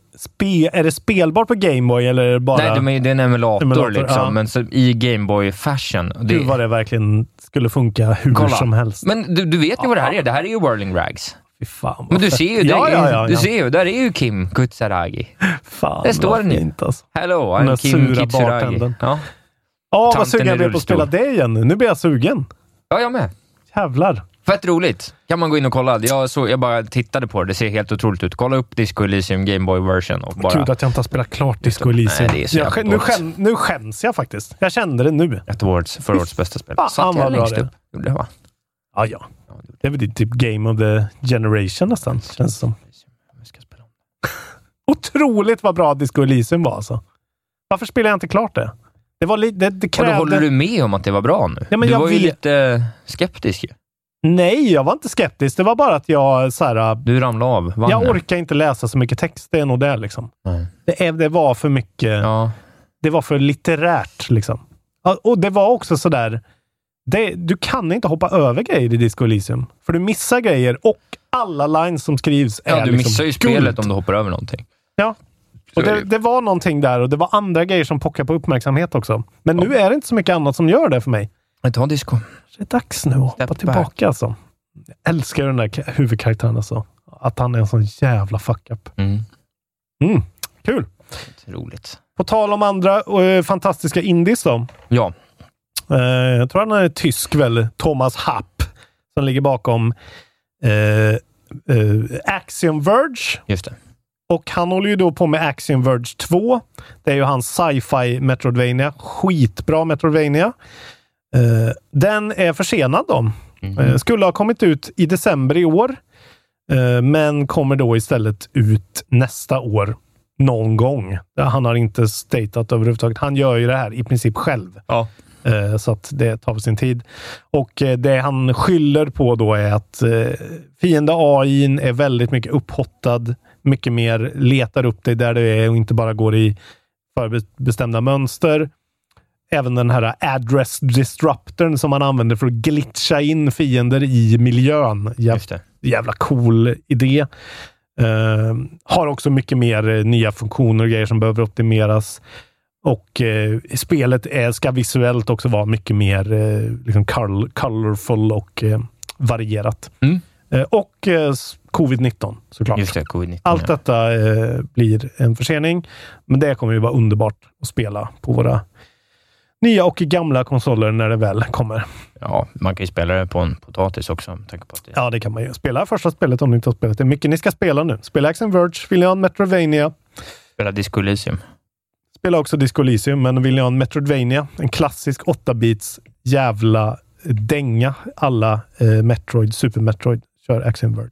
Spe... Är det spelbart på Gameboy eller är det bara... Nej, de är, det är en emulator, Emulator, liksom, ja. men så, i Gameboy-fashion. Det- Gud vad det verkligen skulle funka hur Kolla. som helst. Men du, du vet ju vad det här är. Det här är ju Whirling Rags. Fy fan vad Men du fett. ser ju, det, ja, är- ja, ja, du ja. Ser ju där är ju Kim Kutsaragi. Fan, Där står vad den ju. fint, alltså. Hello, Den där I'm Kim sura Kitsuragi. bartendern. Ja. Ja, Tanten vad sugen i jag blev på att rullstol. spela det igen nu. Nu blir jag sugen. ja, jag med. Jävlar. Fett roligt. Kan man gå in och kolla. Jag, så, jag bara tittade på det. Det ser helt otroligt ut. Kolla upp Disco Elysium Gameboy version och bara... Gud att jag inte har spelat klart Disco Elysium. Nej, det är så jag, jävla nu, dåligt. skäm, nu skäms jag faktiskt. Jag kände det nu. Ett års, förra årets bästa spel. fan, Satt jag vad bra längst det. upp? Gjorde jag, va? Ja, ja. Det är väl typ Game of the Generation nästan, känns det som. Jag ska spela om. Otroligt vad bra Disco Elysium var alltså. Varför spelar jag inte klart det? Det, var li- det, det Och då krävde... håller du med om att det var bra nu? Ja, men du jag var ju vet- lite eh, skeptisk ju. Nej, jag var inte skeptisk. Det var bara att jag så här, Du ramlade av. Vann Jag det. orkar inte läsa så mycket text. Det är nog det liksom. Nej. Det, är, det var för mycket. Ja. Det var för litterärt liksom. Ja, Och det var också sådär. Det, du kan inte hoppa över grejer i Disco Elysium. För du missar grejer och alla lines som skrivs är Ja, du liksom missar ju guld. spelet om du hoppar över någonting. Ja. Så Och är det det, ju. det var någonting där och det var andra grejer som pockar på uppmärksamhet också. Men nu är det inte så mycket annat som gör det för mig. Men Ta disco. Det är dags nu att hoppa back. tillbaka alltså. Jag älskar den där ka- huvudkaraktären alltså. Att han är en sån jävla fuck-up. Mm. Mm. Kul! Roligt. På tal om andra eh, fantastiska indies då. Ja, Eh, jag tror han är tysk väl, Thomas Happ, som ligger bakom eh, eh, Axiom Verge. just det. Och han håller ju då på med Axiom Verge 2. Det är ju hans sci-fi Metroidvania. Skitbra Metroidvania. Eh, den är försenad då. Eh, skulle ha kommit ut i december i år. eh, men kommer då istället ut nästa år. Någon gång. Han har inte statat överhuvudtaget. Han gör ju det här i princip själv. Ja. Eh, Så att det tar sin tid. Och eh, det han skyller på då är att eh, fiende AI n är väldigt mycket upphottad. Mycket mer letar upp dig där du är och inte bara går i förbestämda mönster. Även den här address disruptorn som man använder för att glitcha in fiender i miljön. Jävla Just det. jävla cool idé. Eh, har också mycket mer eh, nya funktioner och grejer som behöver optimeras. Och eh, spelet är, ska visuellt också vara mycket mer eh, liksom col- colorful och eh, varierat. Mm. Eh, och eh, s- covid-19 såklart. Just det, covid-19. Allt ja. detta eh, blir en försening, men det kommer ju vara underbart att spela på våra nya och gamla konsoler när det väl kommer. ja, man kan ju spela det på en potatis också. med tanke på att det... Ja, det kan man ju. Spela första spelet om ni inte har spelat det. Mycket ni ska spela nu. Spela Action Verge. Vill ni ha en Metroidvania? Spela Disco Elysium. Spela också Disco Elysium, men vill ni ha en Metroidvania? En klassisk 8-bits jävla dänga. Alla eh, Metroid, Super Metroid, kör Action Verge.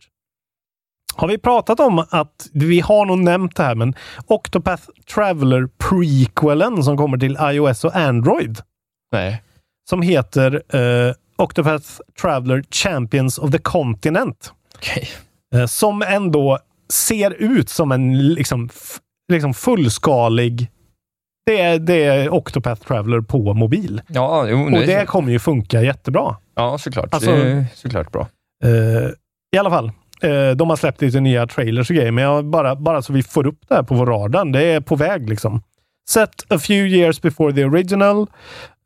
Har vi pratat om att, vi har nog nämnt det här, men Octopath Traveler prequelen som kommer till iOS och Android, Nej. som heter eh, Octopath Traveler Champions of the Continent. Okej. Eh, som ändå ser ut som en liksom, f- liksom fullskalig... Det är, det är Octopath Traveler på mobil. Ja, jo, Och det kommer ju funka jättebra. ja, såklart. Alltså- det är såklart bra. Eh, I alla fall. eh, de har släppt lite nya trailers och grejer, men jag bara, bara så vi får upp det här på vår radar. Det är på väg liksom. Set a few years before the original.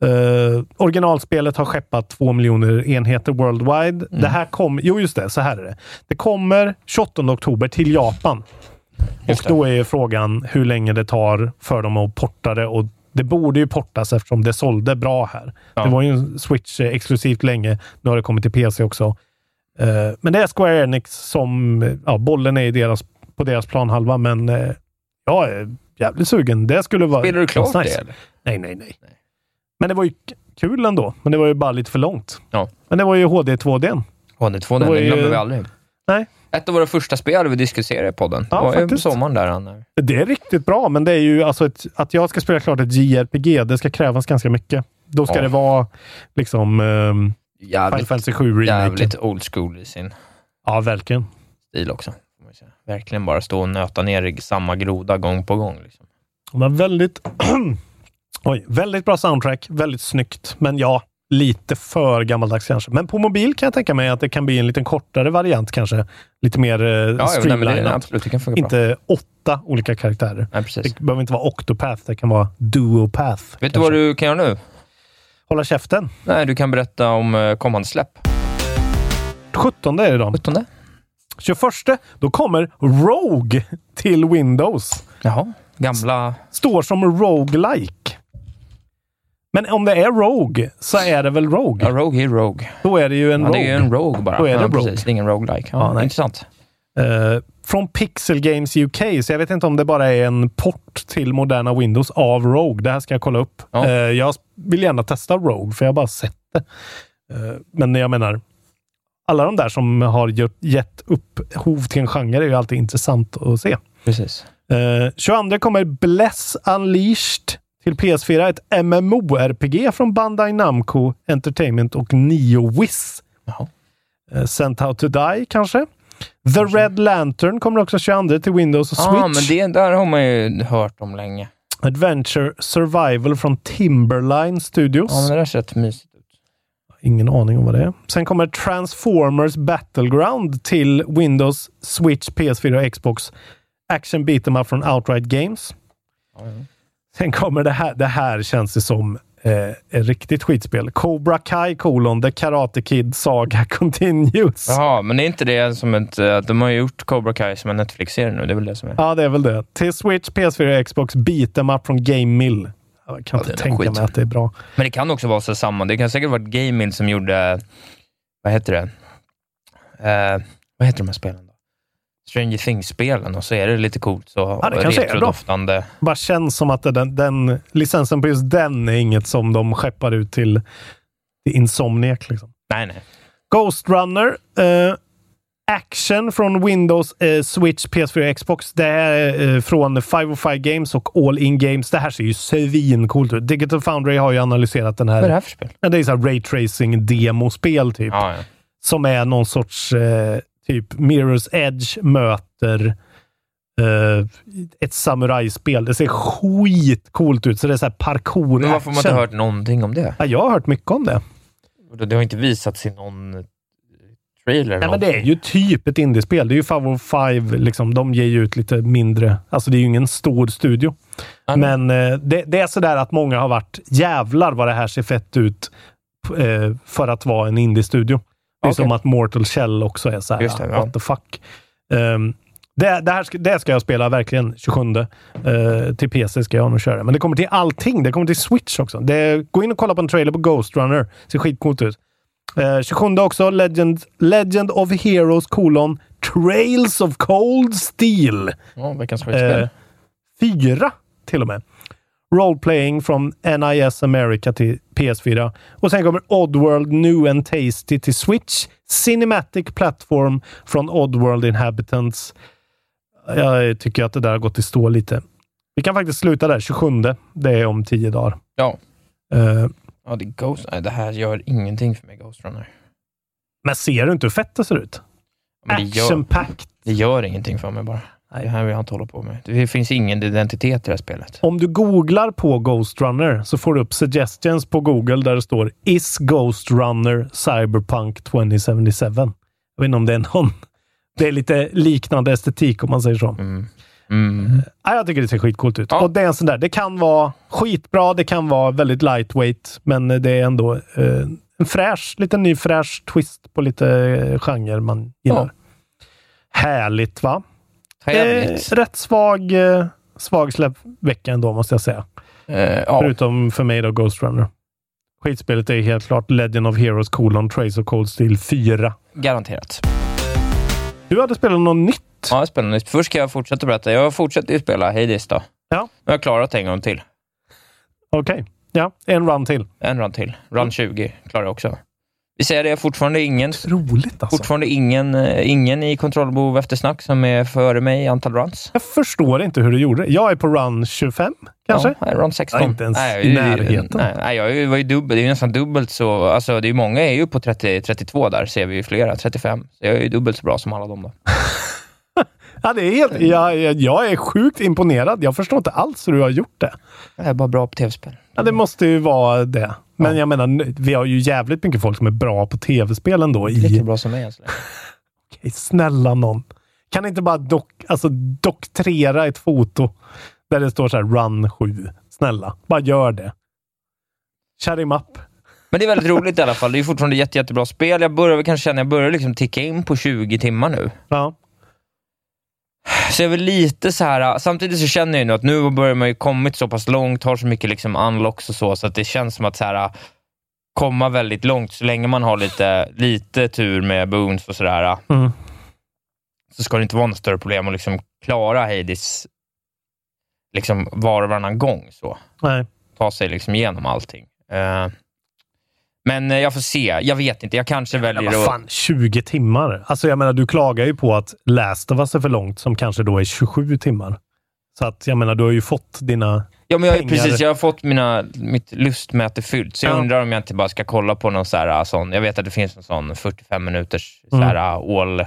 Eh, originalspelet har skeppat 2 miljoner enheter worldwide. Mm. Det här kom... Jo, just det. Så här är det. Det kommer 28 oktober till Japan. Och Just det. då är ju frågan hur länge det tar för dem att porta det. Och det borde ju portas eftersom det sålde bra här. Det var ju en Switch eh, exklusivt länge. Nu har det kommit till PC också. Eh, men det är Square Enix som... eh, Ja, bollen är i deras, på deras planhalva, men eh, jag är jävligt sugen. Det skulle vara... Spelar du klart nice. det? Eller? Nej, nej, nej. Men det var ju k- kul ändå. Men det var ju bara lite för långt. Ja. Men det var ju HD 2D. Det HD2, den, var den ju- glömmer vi aldrig. Nej. Ett av våra första spel vi diskuterade i podden. Ja, det var ju på faktiskt. sommaren där. Anna. Det är riktigt bra, men det är ju alltså ett, att jag ska spela klart ett JRPG, det ska krävas ganska mycket. Då ska Ja. det vara liksom um, Final Jävligt, Fantasy 7 remake. typ. jävligt old school i sin Ja, verkligen. stil också. får man säga. Verkligen bara stå och nöta ner i samma groda gång på gång. Liksom. De har väldigt, [CLEARS THROAT] oj, väldigt bra soundtrack, väldigt snyggt, men ja, lite för gammaldags kanske. Men på mobil kan jag tänka mig att det kan bli en lite kortare variant kanske. Lite mer uh, Ja, jo, nej, men det, streamlinat. absolut, det kan funka bra. Inte åtta olika karaktärer. Nej, precis. Det behöver inte vara Octopath, det kan vara Duopath. Vet du vad du kan göra nu? Hålla käften. Nej, du kan berätta om eh, kommande släpp. 17 är det idag. 17? 21, då kommer Rogue till Windows. Jaha. Gamla... Står som Roguelike. Men om det är Rogue så är det väl Ja, Rogue? Rogue är Rogue. Då är det ju en Ja, det Rogue. är ju en Rogue bara. Då är det ja, Rogue. Precis. Det är ingen Rogue-like. Ja, Ja, nej. intressant. Eh, från Pixel Games UK, så jag vet inte om det bara är en port till moderna Windows av Rogue. Det här ska jag kolla upp. Ja. Eh, jag vill gärna testa Rogue, för jag har bara sett det. Eh, men jag menar, alla de där som har gjort- gett upphov till en genre är ju alltid intressant att se. Precis. Eh, 22 kommer Bless Unleashed till PS4. Ett MMORPG från Bandai Namco Entertainment och Neo Wiz. Jaha. Eh, Sent How To Die kanske. The Red Lantern kommer också 22 till Windows och Switch. Ja, ah, men det där har man ju hört om länge. Adventure Survival från Timberline Studios. Ja, men det där ser rätt mysigt ut. Ingen aning om vad det är. Sen kommer Transformers Battleground till Windows, Switch, PS4 och Xbox. Action beat'em up från Outright Games. Sen kommer det här. Det här känns det som eh, ett riktigt skitspel. Cobra Kai colon The Karate Kid Saga [LAUGHS] Continues. Ja. Jaha, men det är inte det som ett... eh, De har ju gjort Cobra Kai som en Netflix-serie nu. Det är väl det som är... det är väl det. Till Switch, PS4 och Xbox beat'em up från Game Mill. Jag kan Ja, det är inte tänka skit. mig att det är bra. Men det kan också vara så samma. Det kan säkert vara Gaming som gjorde... Vad heter det? Eh, vad heter de här spelen? då? Stranger Things-spelen och så är det lite coolt så Ja, det kanske är bra. retrodoftande. bara känns som att den, den licensen på just den är inget som de skeppar ut till, till Insomniac. Liksom. Nej, nej. Ghost Runner. eh, action från Windows, eh, Switch, PS4 och Xbox. Det här är eh, från 505 Games och All In Games. Det här ser ju svincoolt ut. Digital Foundry har ju analyserat den Vad är här. det här för spel? Ja, Det är så här raytracing-demospel typ. Ja, ja. Som är någon sorts eh, typ Mirror's Edge möter eh, ett samurajspel. Det ser skitcoolt ut. Så det är så här parkour Men varför har man inte hört någonting om det? Ja, jag har hört mycket om det. Det har inte visats i någon eh, trailer. Nej, men det är ju typ ett indiespel. Det är ju Favor 5. Liksom, de ger ju ut lite mindre. Alltså, det är ju ingen stor studio. Men eh, det, det är sådär att många har varit jävlar vad det här ser fett ut p- eh, för att vara en indie-studio. Det är Okej. som att Mortal Shell också är såhär, Just det, ja. what the fuck. Ehm, det, det, här ska, det ska jag spela verkligen 27. Eh, till PC ska jag nog köra. Men det kommer till allting. Det kommer till Switch också. Det, gå in och kolla på en trailer på Ghost Runner. Ser skitcoolt ut. Eh, 27 också, Legend, Legend of Heroes colon Trails of Cold Steel. Ja, veckans skitspel. Eh, fyra till och med. Role-playing från NIS America till PS4. Och sen kommer Oddworld New and Tasty till Switch. Cinematic Platform från Oddworld Inhabitants. Jag tycker att det där har gått i stå lite. Vi kan faktiskt sluta där. 27. Det är om tio dagar. Ja. Eh, ja, det är Ghost... Nej, det här gör ingenting för mig, Ghost Runner. men ser du inte hur fett det ser ut? Men det gör, Action-packed. det gör ingenting för mig bara. Det här vill jag inte hålla på med. Det finns ingen identitet i det här spelet. Om du googlar på Ghost Runner så får du upp suggestions på Google där det står “Is Ghost Runner Cyberpunk 2077?” Jag vet inte om det är någon... Det är lite liknande estetik om man säger så. Mm. Nej, jag tycker det ser skitcoolt ut. Ja. Och det är en sån där, det kan vara skitbra, det kan vara väldigt lightweight, men det är ändå eh, en fräsch, lite ny fräsch twist på lite eh, genre man gillar. Ja. Härligt va? Eh, Trevligt. rätt svag, eh, svag släppvecka ändå, måste jag säga. Eh, ja. Förutom för mig då, Ghost Runner. Skitspelet är helt klart Legend of Heroes colon Trace of Cold Steel 4. Garanterat. Du hade spelat något nytt. Ja, spännande. Först ska jag fortsätta berätta. Jag fortsätter ju spela Hades då. Ja. Nu har jag klarat en gång till. Okej. Ja, en run till. En run till. Mm. Run 20 klarar jag också. Vi säger det, fortfarande ingen, Roligt alltså. fortfarande ingen, eh, ingen i kontrollbehov eftersnack som är före mig i antal runs. Jag förstår inte hur du gjorde. Jag är på run 25, kanske? Ja, run 16. Ja, inte ens jag i är ju- närheten. Nej, nej, jag är ju- var ju dubbel. Det är ju nästan dubbelt så... Alltså, det är ju många är ju på 30, 32 där, ser vi ju flera. 35. Så jag är ju dubbelt så bra som alla dem då. Ja, det är helt, Mm. jag, jag- jag är sjukt imponerad. Jag förstår inte alls hur du har gjort det. Jag är bara bra på tv-spel. Ja, det måste ju vara det. Men jag menar, nu- vi har ju jävligt mycket folk som är bra på tv-spel ändå. I, Lika bra som mig än så länge. Okej, snälla någon. Kan inte bara dok, alltså, doktrera ett foto där det står så här run 7? Snälla, bara gör det. Kör him up. Men det är väldigt roligt i alla fall. Det är ju fortfarande jätte, jättebra spel. Jag börjar väl kanske känna, jag börjar liksom ticka in på 20 timmar nu. Ja. Så jag är väl lite så här, samtidigt så känner jag ju nu att nu börjar man ju kommit så pass långt, har så mycket liksom unlocks och så, så att det känns som att så här, komma väldigt långt, så länge man har lite, lite tur med boons och sådär, Mm. så ska det inte vara något större problem att liksom klara Hades liksom var och varannan gång. Så Nej. ta sig liksom igenom allting. Eh, men eh, jag får se. Jag vet inte. Jag kanske väljer Vad fan, 20 timmar? Alltså jag menar, du klagar ju på att Last of Us är för långt, som kanske då är 27 timmar. Så att jag menar, du har ju fått dina... Ja, men jag, pengar. precis. Jag har fått mina, mitt lustmäte fyllt, så jag Ja. undrar om jag inte bara ska kolla på någon så här, ah, sån, jag vet att det finns en sån 45 minuters så Mm. här, ah, all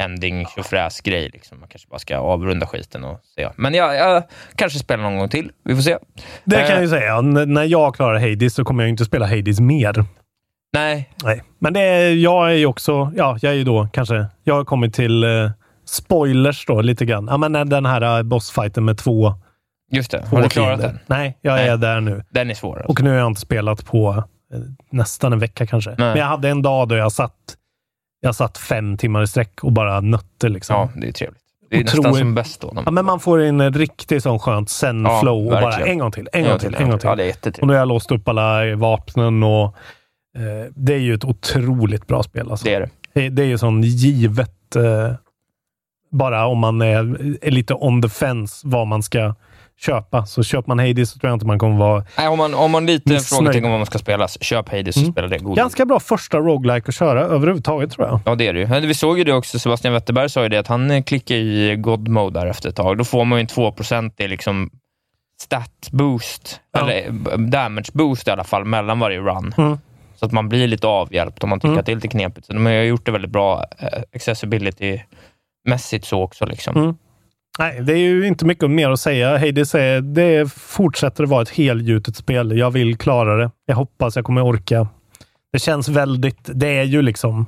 ending tjofräs grej. Liksom. Man kanske bara ska avrunda skiten och se. Men jag, jag kanske spelar någon gång till. Vi får se. Det kan jag Eh, ju säga. N- när jag klarar Hades så kommer jag ju inte spela Hades mer. Nej, Nej, men det är, jag är ju också, ja, jag är ju då kanske, jag har kommit till eh, spoilers då lite grann. Ja, men när den här eh, bossfighten med två. just det. två Har du klarat fiender. den? Nej, jag är Nej. där nu. Den är svår. Alltså. Och nu har jag inte spelat på eh, nästan en vecka kanske. Men jag hade en dag då jag satt, jag satt fem timmar i sträck och bara nötte liksom. Ja, Ja. det är trevligt. Det är nästan Otroligt. som bäst då. när man- men man får en riktig sån skönt Ja, zen-flow och bara verkligen. en gång till, en gång till, en gång till. Ja, det är Och jättetrevligt. nu har jag låst upp alla vapnen och eh, det är ju ett otroligt bra spel. Alltså. Det är det. Det, det är ju sån givet, eh, bara om man är, är lite on the fence vad man ska köpa. Så köper man Hades så tror jag inte man kommer vara... Nej, om, man, om man lite Missnöjd. Mm. frågetecken om vad man ska spela, så köp Hades och spela det. God jul. Ganska bra första roguelike att köra överhuvudtaget tror jag. Ja, det är det ju. Men Vi såg ju det också, Sebastian Wetterberg sa ju det, att han eh, klickar i God Mode där efter ett tag. Då får man ju en 2% i liksom stat boost, Ja. eller eh, b- damage boost i alla fall, mellan varje run. Mm. Så att man blir lite avhjälpt om man tycker Mm. att det är lite knepigt. Så de har ju gjort det väldigt bra eh, accessibility-mässigt så också. Liksom. Mm. Nej, det är ju inte mycket mer att säga. Hades är, det fortsätter att vara ett helgjutet spel. Jag vill klara det. Jag hoppas jag kommer orka. Det känns väldigt... Det är ju liksom...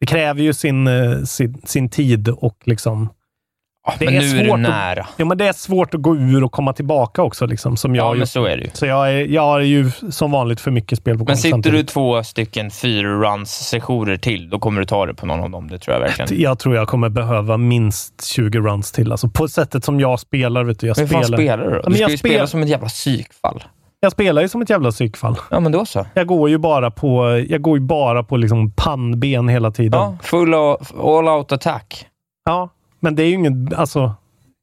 Det kräver ju sin, eh, sin, sin tid och liksom Ja, men nu är du nära. Att, ja, men det är svårt att gå ur och komma tillbaka också, liksom, som jag Ja, har men gjort. så är det ju. Så jag, är, jag har ju som vanligt för mycket spel på gång Men sitter du samtidigt. två stycken fyra-runs-sessioner till, då kommer du ta det på någon av dem. Det tror jag verkligen. Jag tror jag kommer behöva minst 20 runs till. Alltså på sättet som jag spelar. Vet du, jag, Men hur fan spelar. spelar du då? Ja, Du men ska jag, ju spel, spela som ett jävla psykfall. jag spelar ju som ett jävla psykfall. Ja, men då så. Jag går ju bara på, jag går ju bara på liksom pannben hela tiden. Ja, full of, all out attack. Ja, men det är ju ingen... Alltså,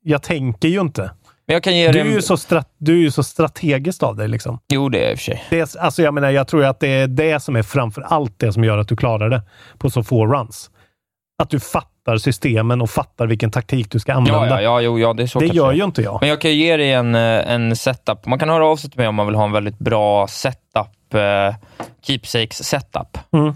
jag tänker ju inte. Men jag kan ge Du dig är en... ju så, stra- du är ju så strategiskt av dig. Liksom. Jo, det är jag i och för sig. Det, är- alltså jag, menar, jag tror ju att det är det som är framför allt det som gör att du klarar det på så få runs. Att du fattar systemen och fattar vilken taktik du ska Ja, använda. ja, ja, jo, ja det är så det kanske gör det är. ju inte jag. Men jag kan ju ge dig en, eh, en setup. Man kan höra av sig till mig om man vill ha en väldigt bra setup, eh, keepsakes setup, Mm.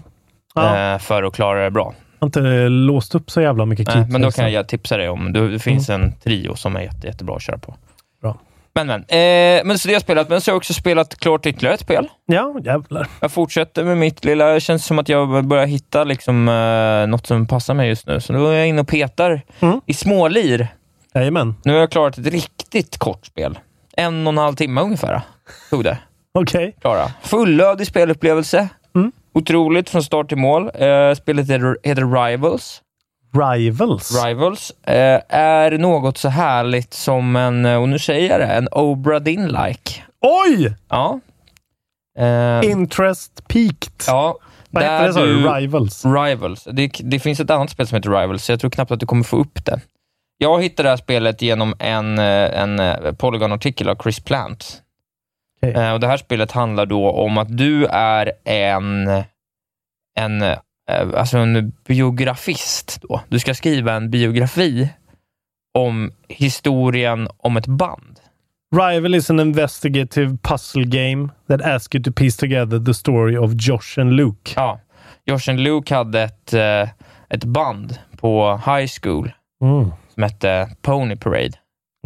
Ja, eh, för att klara det bra. jag har inte låst upp Typ så jävla mycket Nej, keepsakes. men då kan jag tipsa dig om, det det finns en trio som är jätte, jättebra att köra på. Bra. Men, men. Eh, men så det har jag spelat, men så har jag också spelat klart ytterligare ett spel. Ja, jävlar. Jag fortsätter med mitt lilla, det känns som att jag börjar hitta liksom, eh, något som passar mig just nu. Så då är jag inne och petar Mm. i smålir. Jajamän. Nu har jag klarat ett riktigt kort spel. En och en halv timme ungefär eh, tog det. Okej. Klara. Fullödig spelupplevelse. Mm. Otroligt från start till mål. Eh, spelet heter, heter Rivals. Rivals. Rivals eh, är något så härligt som en, eh, och nu säger jag det, en Obra Dinn-like. Oj! Ja. Eh, Interest peaked. ja. Vad där heter det? sa du- du? Rivals. Rivals. Det, det finns ett annat spel som heter Rivals, så jag tror knappt att du kommer få upp det. Jag hittade det här spelet genom en, eh, en eh, Polygon-artikel av Chris Plant. Okej. Eh, Och det här spelet handlar då om att du är en, en, eh, alltså en biografist. Då. Du ska skriva en biografi om historien om ett band. Rival is an investigative puzzle game that asks you to piece together the story of Josh and Luke. Ja. Josh and Luke hade ett, eh, ett band på high school Mm. som hette Pony Parade.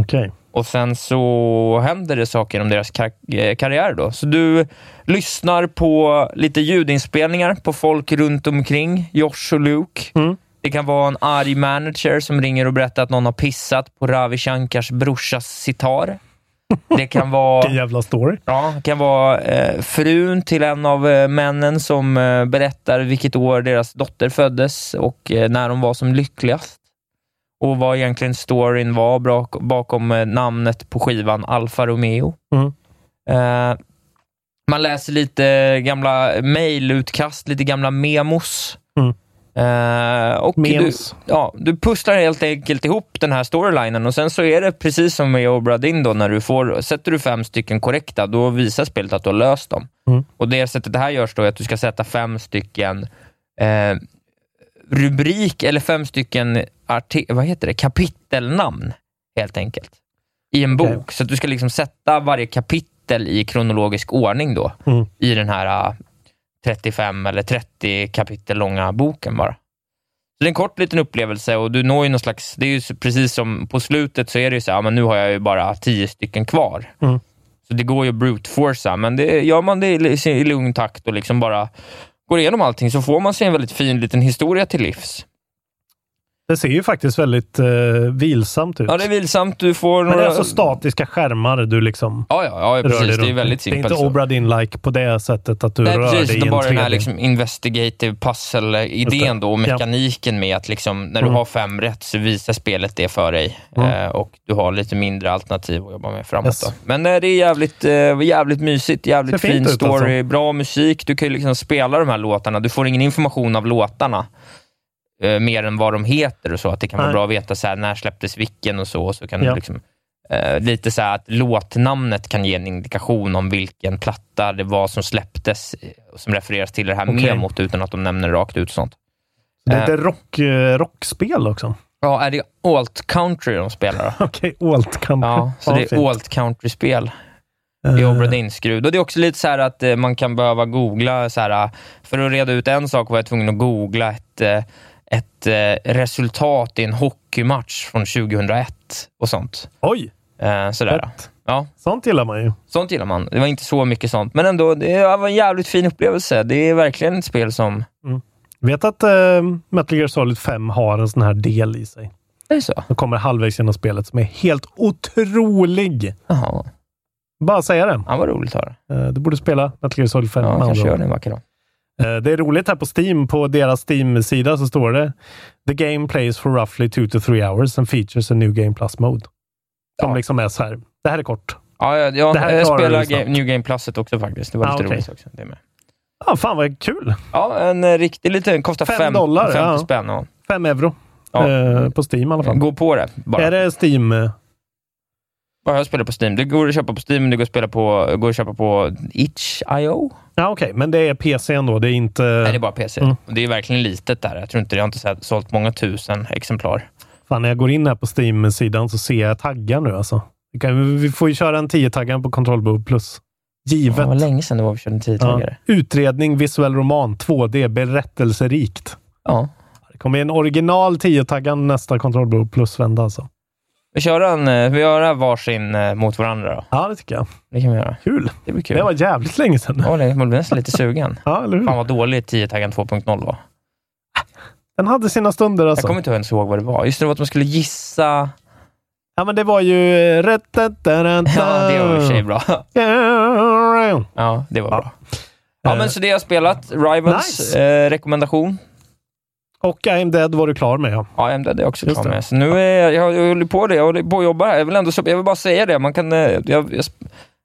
Okej. Och sen så händer det saker om deras kar- eh, karriär då. Så du lyssnar på lite ljudinspelningar på folk runt omkring, Josh och Luke. Mm. Det kan vara en arg manager som ringer och berättar att någon har pissat på Ravi Shankars brorsas sitar. Det kan [LAUGHS] vara... Vilken jävla story. Ja, det kan vara eh, frun till en av eh, männen som eh, berättar vilket år deras dotter föddes och eh, när de var som lyckligast. Och vad egentligen storyn var brak- bakom eh, namnet på skivan Alfa Romeo. Mm. Eh, man läser lite gamla mejlutkast, lite gamla memos. Mm. Eh, och du, Memes. ja, du pusslar helt enkelt ihop den här storylinen och sen så är det precis som med Obra Dinn då, när du får, sätter du fem stycken korrekta, då visar spelet att du har löst dem. Mm. Och det sättet det här görs då är att du ska sätta fem stycken eh, rubrik, eller fem stycken arti- vad heter det? kapitelnamn, helt enkelt, i en bok. Okej. Så att du ska liksom sätta varje kapitel i kronologisk ordning då, Mm. i den här ah, 35 eller 30 kapitel långa boken bara. Så det är en kort liten upplevelse och du når ju någon slags, det är ju så- precis som på slutet så är det ju så här, ja, men nu har jag ju bara 10 stycken kvar. Mm. Så det går ju att brute-forca, men det, gör man det i, i lugn takt och liksom bara går igenom allting så får man sig en väldigt fin liten historia till livs. Det ser ju faktiskt väldigt eh, vilsamt ut. Ja, det är vilsamt. Du får Men det är några... alltså statiska skärmar du liksom Ja, ja, ja rör dig precis. Det är runt. väldigt Det är simpelt. inte så. Obra Dinn-like på det sättet att du Nej, rör precis. dig i Det en bara den här 3D. liksom investigative puzzle-idén Just det. då och Ja. mekaniken med att liksom, när du Mm. har fem rätt så visar spelet det för dig Mm. eh, och du har lite mindre alternativ att jobba med framåt. Yes. Då. Men eh, det är jävligt, eh, jävligt mysigt, jävligt Ser fint fin ut, alltså. story, bra musik. Du kan ju liksom spela de här låtarna. Du får ingen information av låtarna. eh, mer än vad de heter och så. Att det kan vara Nej. bra att veta så här, när släpptes vilken och så. Och så kan du Ja. liksom, eh, lite så här att låtnamnet kan ge en indikation om vilken platta det var som släpptes, eh, som refereras till det här Okej. memot utan att de nämner rakt ut sånt. Det Eh. är ett rock, eh, rockspel också. [LAUGHS] Ja, är det alt country de spelar? då? Okej, Alt Camp. Ja, Eh. så det är alt country-spel. Eh, i Obra Dinn-skrud. Och det är också lite så här att eh, man kan behöva googla, så här, eh, för att reda ut en sak var jag tvungen att googla ett, eh, ett eh, resultat i en hockeymatch från 2001 och sånt. Oj! Eh, Sådär. Fett. Ja, Sånt gillar man ju. sånt gillar man. Det var inte så mycket sånt, men ändå, det var en jävligt fin upplevelse. Det är verkligen ett spel som... Vet att eh, Metal Gear Solid 5 har en sån här del i sig. Är det så? som kommer halvvägs genom spelet som är helt otrolig. Jaha. Bara säga det. Ja, vad roligt att höra. Eh, Du borde spela Metal Gear Solid 5. Ja, med kanske andra gör ord. det en vacker dag. Eh, Det är roligt här på Steam, på deras Steam-sida så står det “The game plays for roughly 2-3 hours and features a new game plus mode”. Som Ja. liksom är så här. Det här är kort. Ja, ja, Det ja här jag klarar spelar du snabbt. Ga- New Game Pluset också faktiskt. Det var Ah, lite okej. roligt också. Det med. Ja, fan vad kul! Ja, en eh, riktig liten. Kostar Fem 5 dollar, 50 ja. spänn. Ja. 5 euro Ja. eh, på Steam i alla fall. Gå på det bara. Är det Steam? eh, Ja, jag spelar på Steam. Det går att köpa på Steam, det går att, spela på, går att köpa på Itch.io. Ja, okej. Men det är PC ändå. Det är inte... Nej, det är bara PC. Mm. Och Det är verkligen litet där. Jag tror inte, jag har inte sett- sålt många tusen exemplar. Fan, när jag går in här på Steam-sidan så ser jag taggar nu alltså. Vi, kan, vi får ju köra en 10-taggare på Control Plus. Ja, Givet. det var länge sedan det var vi körde en Ja. tiotaggare. Utredning, visuell roman, 2D, berättelserikt. Ja. Det kommer en original 10-taggan nästa Control Plus-vända alltså. Vi kör en, eh, vi gör varsin eh, mot varandra då. Ja, det tycker jag. Det kan vi göra. Kul. Det blir kul. Det var jävligt länge sedan. Ja, det- man blir nästan lite sugen. Ja, eller hur? Fan vad dålig 10-taggen 2.0 var. Den hade sina stunder Jag alltså. kommer inte ens ihåg vad det var. Just det, det var att man skulle gissa. [LAUGHS] Ja, men det var ju... eh, Ja, Ja, det var i och för sig bra. [LAUGHS] Ja, det var Ja. bra. Ja, men så det har jag spelat. Rivals, Nice. eh, rekommendation. Eh, Och I'm Dead var du klar med, ja. Ja, MD det är också Just klar det. med. Så nu är jag, jag, jag håller på det. Jag håller på att jobba här. Jag vill, ändå, så- jag vill bara säga det. Man kan... eh, Jag, jag, jag,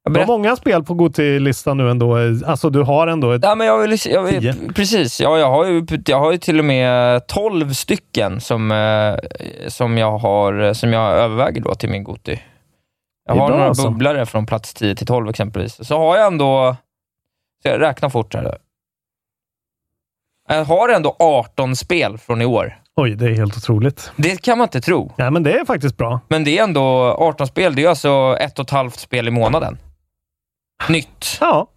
Det var berätt- många spel på Goti-listan nu ändå. Alltså, du har ändå ett... Ja, men jag vill, jag vill, Tio. precis. Ja, jag, har ju, jag har ju till och med 12 stycken som, eh, som, jag, har, som jag överväger då till min Goti. Jag Det är har bra några alltså. bubblare från plats 10 till 12 exempelvis. Så har jag ändå... Så jag räknar fort här. Jag har ändå 18 spel från i år. Oj, det är helt otroligt. Det kan man inte tro. Ja, men det är faktiskt bra. Men det är ändå 18 spel. Det är alltså ett och ett halvt spel i månaden. Nytt. Ja.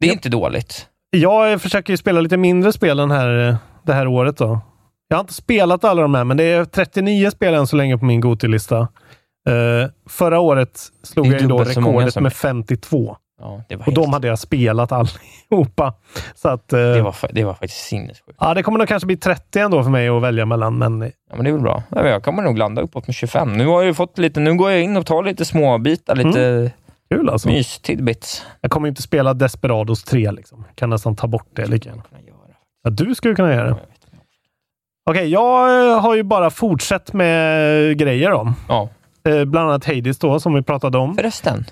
Det är Ja. inte dåligt. Jag försöker ju spela lite mindre spel den här, eh, det här året. Då. Jag har inte spelat alla de här, men det är 39 spel än så länge på min Goti-lista. Eh, förra året slog Det är jag ju då dubbelt så många rekordet som- med 52. Ja, det var Och helt, de hade jag spelat allihopa. Så att, eh, det, var, fa- det var faktiskt sinnessjukt. ja, det kommer nog kanske bli 30 ändå för mig att välja mellan, men Ja, men det är väl bra. Ja, men Jag kommer nog landa uppåt med 25. Nu har jag ju fått lite, nu går jag in och tar lite småbitar, Mm. lite kul alltså. mys-tidbits. Jag kommer ju inte spela Desperados 3. Liksom. Jag kan nästan ta bort det lika gärna. Kunna göra. Ja, du skulle kunna göra det. Ja, Okej, jag vet inte. jag eh, har ju bara fortsatt med grejer om. Ja. Eh, bland annat Hades då, som vi pratade om. Förresten,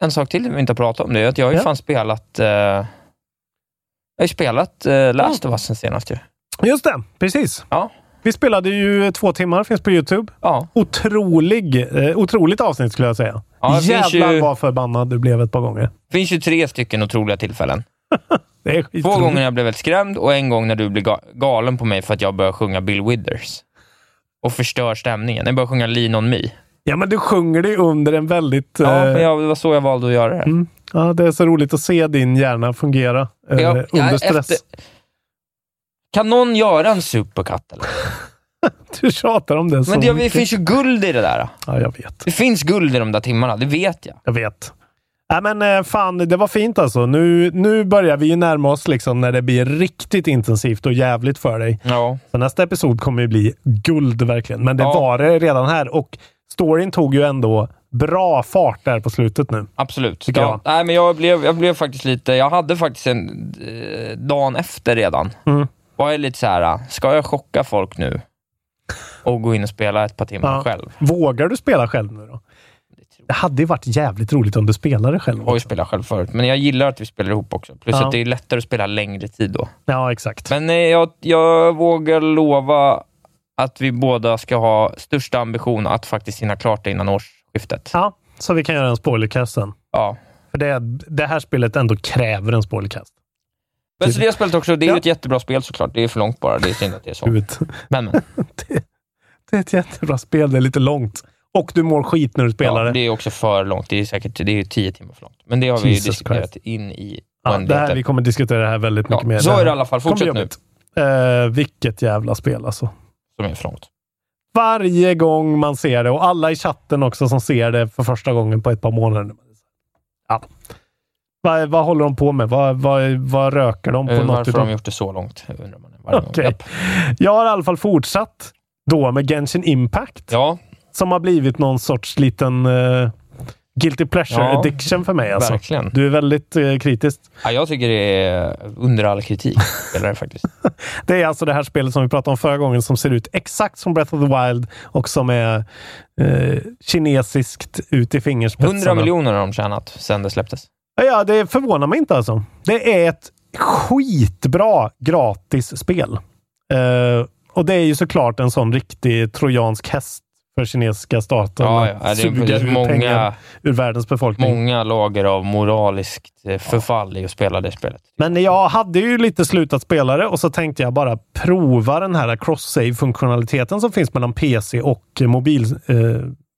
en sak till vi inte har pratat om, det är att jag har ju Ja. fan spelat eh, jag har ju spelat eh, Last of Us sen senast ju. Just det, precis. Ja. Vi spelade ju eh, två timmar, finns på YouTube. Ja. Otrolig, eh, otroligt avsnitt skulle jag säga. Ja, det finns Jävlar ju- vad förbannad du blev ett par gånger. finns ju tre stycken otroliga tillfällen. Det är Två skitroligt. gånger när jag blev väldigt skrämd och en gång när du blev ga- galen på mig för att jag började sjunga Bill Withers. Och förstör stämningen. Jag började sjunga Lean on me. Ja, men du sjunger det ju under en väldigt... Ja, eh, men jag, det var så jag valde att göra det. Mm, ja, det är så roligt att se din hjärna fungera eh, Jag, jag- under stress. efter- Kan någon göra en superkatt eller? Du tjatar om det så Men det, det mycket. finns ju guld i det där. Ja, jag vet. Det finns guld i de där timmarna, det vet jag. Jag vet. Nej, men eh, fan, det var fint alltså. Nu, nu börjar vi ju närma oss liksom när det blir riktigt intensivt och jävligt för dig. Ja. Så nästa episod kommer ju bli guld verkligen. Men det Ja. var det redan här och storyn tog ju ändå bra fart där på slutet nu. Absolut. Tycker ja. Nej, men jag, blev, jag blev faktiskt lite... Jag hade faktiskt en... Eh, dagen efter redan. Mm. Var jag lite så här, ah, ska jag chocka folk nu? Och gå in och spela ett par timmar Ja. själv. Vågar du spela själv nu då? Det hade ju varit jävligt roligt om du spelade själv. Jag har ju också. spelat själv förut, men jag gillar att vi spelar ihop också. Plus Ja. att det är lättare att spela längre tid då. Ja, exakt. Men eh, jag, jag vågar lova att vi båda ska ha största ambition att faktiskt hinna klart det innan årsskiftet. Ja, så vi kan göra en spoilercast sen. Ja. För det, det här spelet ändå kräver en spoilercast. Men så det har jag spelat också. Det är ju Typ. Ja. ett jättebra spel såklart. Det är för långt bara. Det är synd att det är så. Ut. Men, men. Det är ett jättebra spel. Det är lite långt. Och du mår skit när du spelar Ja, det. det är också för långt. Det är säkert det är ju tio timmar för långt. Men det har vi ju Jesus diskuterat in i Ja, det här, vi kommer diskutera det här väldigt mycket Ja, mer. så är här det i alla fall. kommer bli Fortsätt nu. jobbigt. Eh, vilket jävla spel alltså. Som är för långt. Varje gång man ser det och alla i chatten också som ser det för första gången på ett par månader. Ja. Vad, vad håller de på med? Vad, vad, vad röker de på? Eh, något Varför utav- har de gjort det så långt? undrar man varje gång. Okej. Japp. Jag har i alla fall fortsatt Då med Genshin Impact. Ja, Som har blivit någon sorts liten eh, guilty pleasure Ja, addiction för mig. Alltså. verkligen. Du är väldigt eh, kritisk. Ja, jag tycker det är under [LAUGHS] all kritik. Spelar det faktiskt. Det är alltså det här spelet som vi pratade om förra gången som ser ut exakt som Breath of the Wild och som är eh, kinesiskt ut i fingerspetsarna. 100 miljoner har de tjänat sen det släpptes. Ja, Ja, det förvånar mig inte alltså. Det är ett skitbra gratis spel. Eh, och det är ju såklart en sån riktig trojansk häst för kinesiska staten. Ja, ja. att Ja, det är suga precis ur många- pengar ur världens befolkning. Många lager av moraliskt eh, förfall i att spela det spelet. Men jag hade ju lite slutat spela det och så tänkte jag bara prova den här cross-save-funktionaliteten som finns mellan PC och eh, mobil, eh,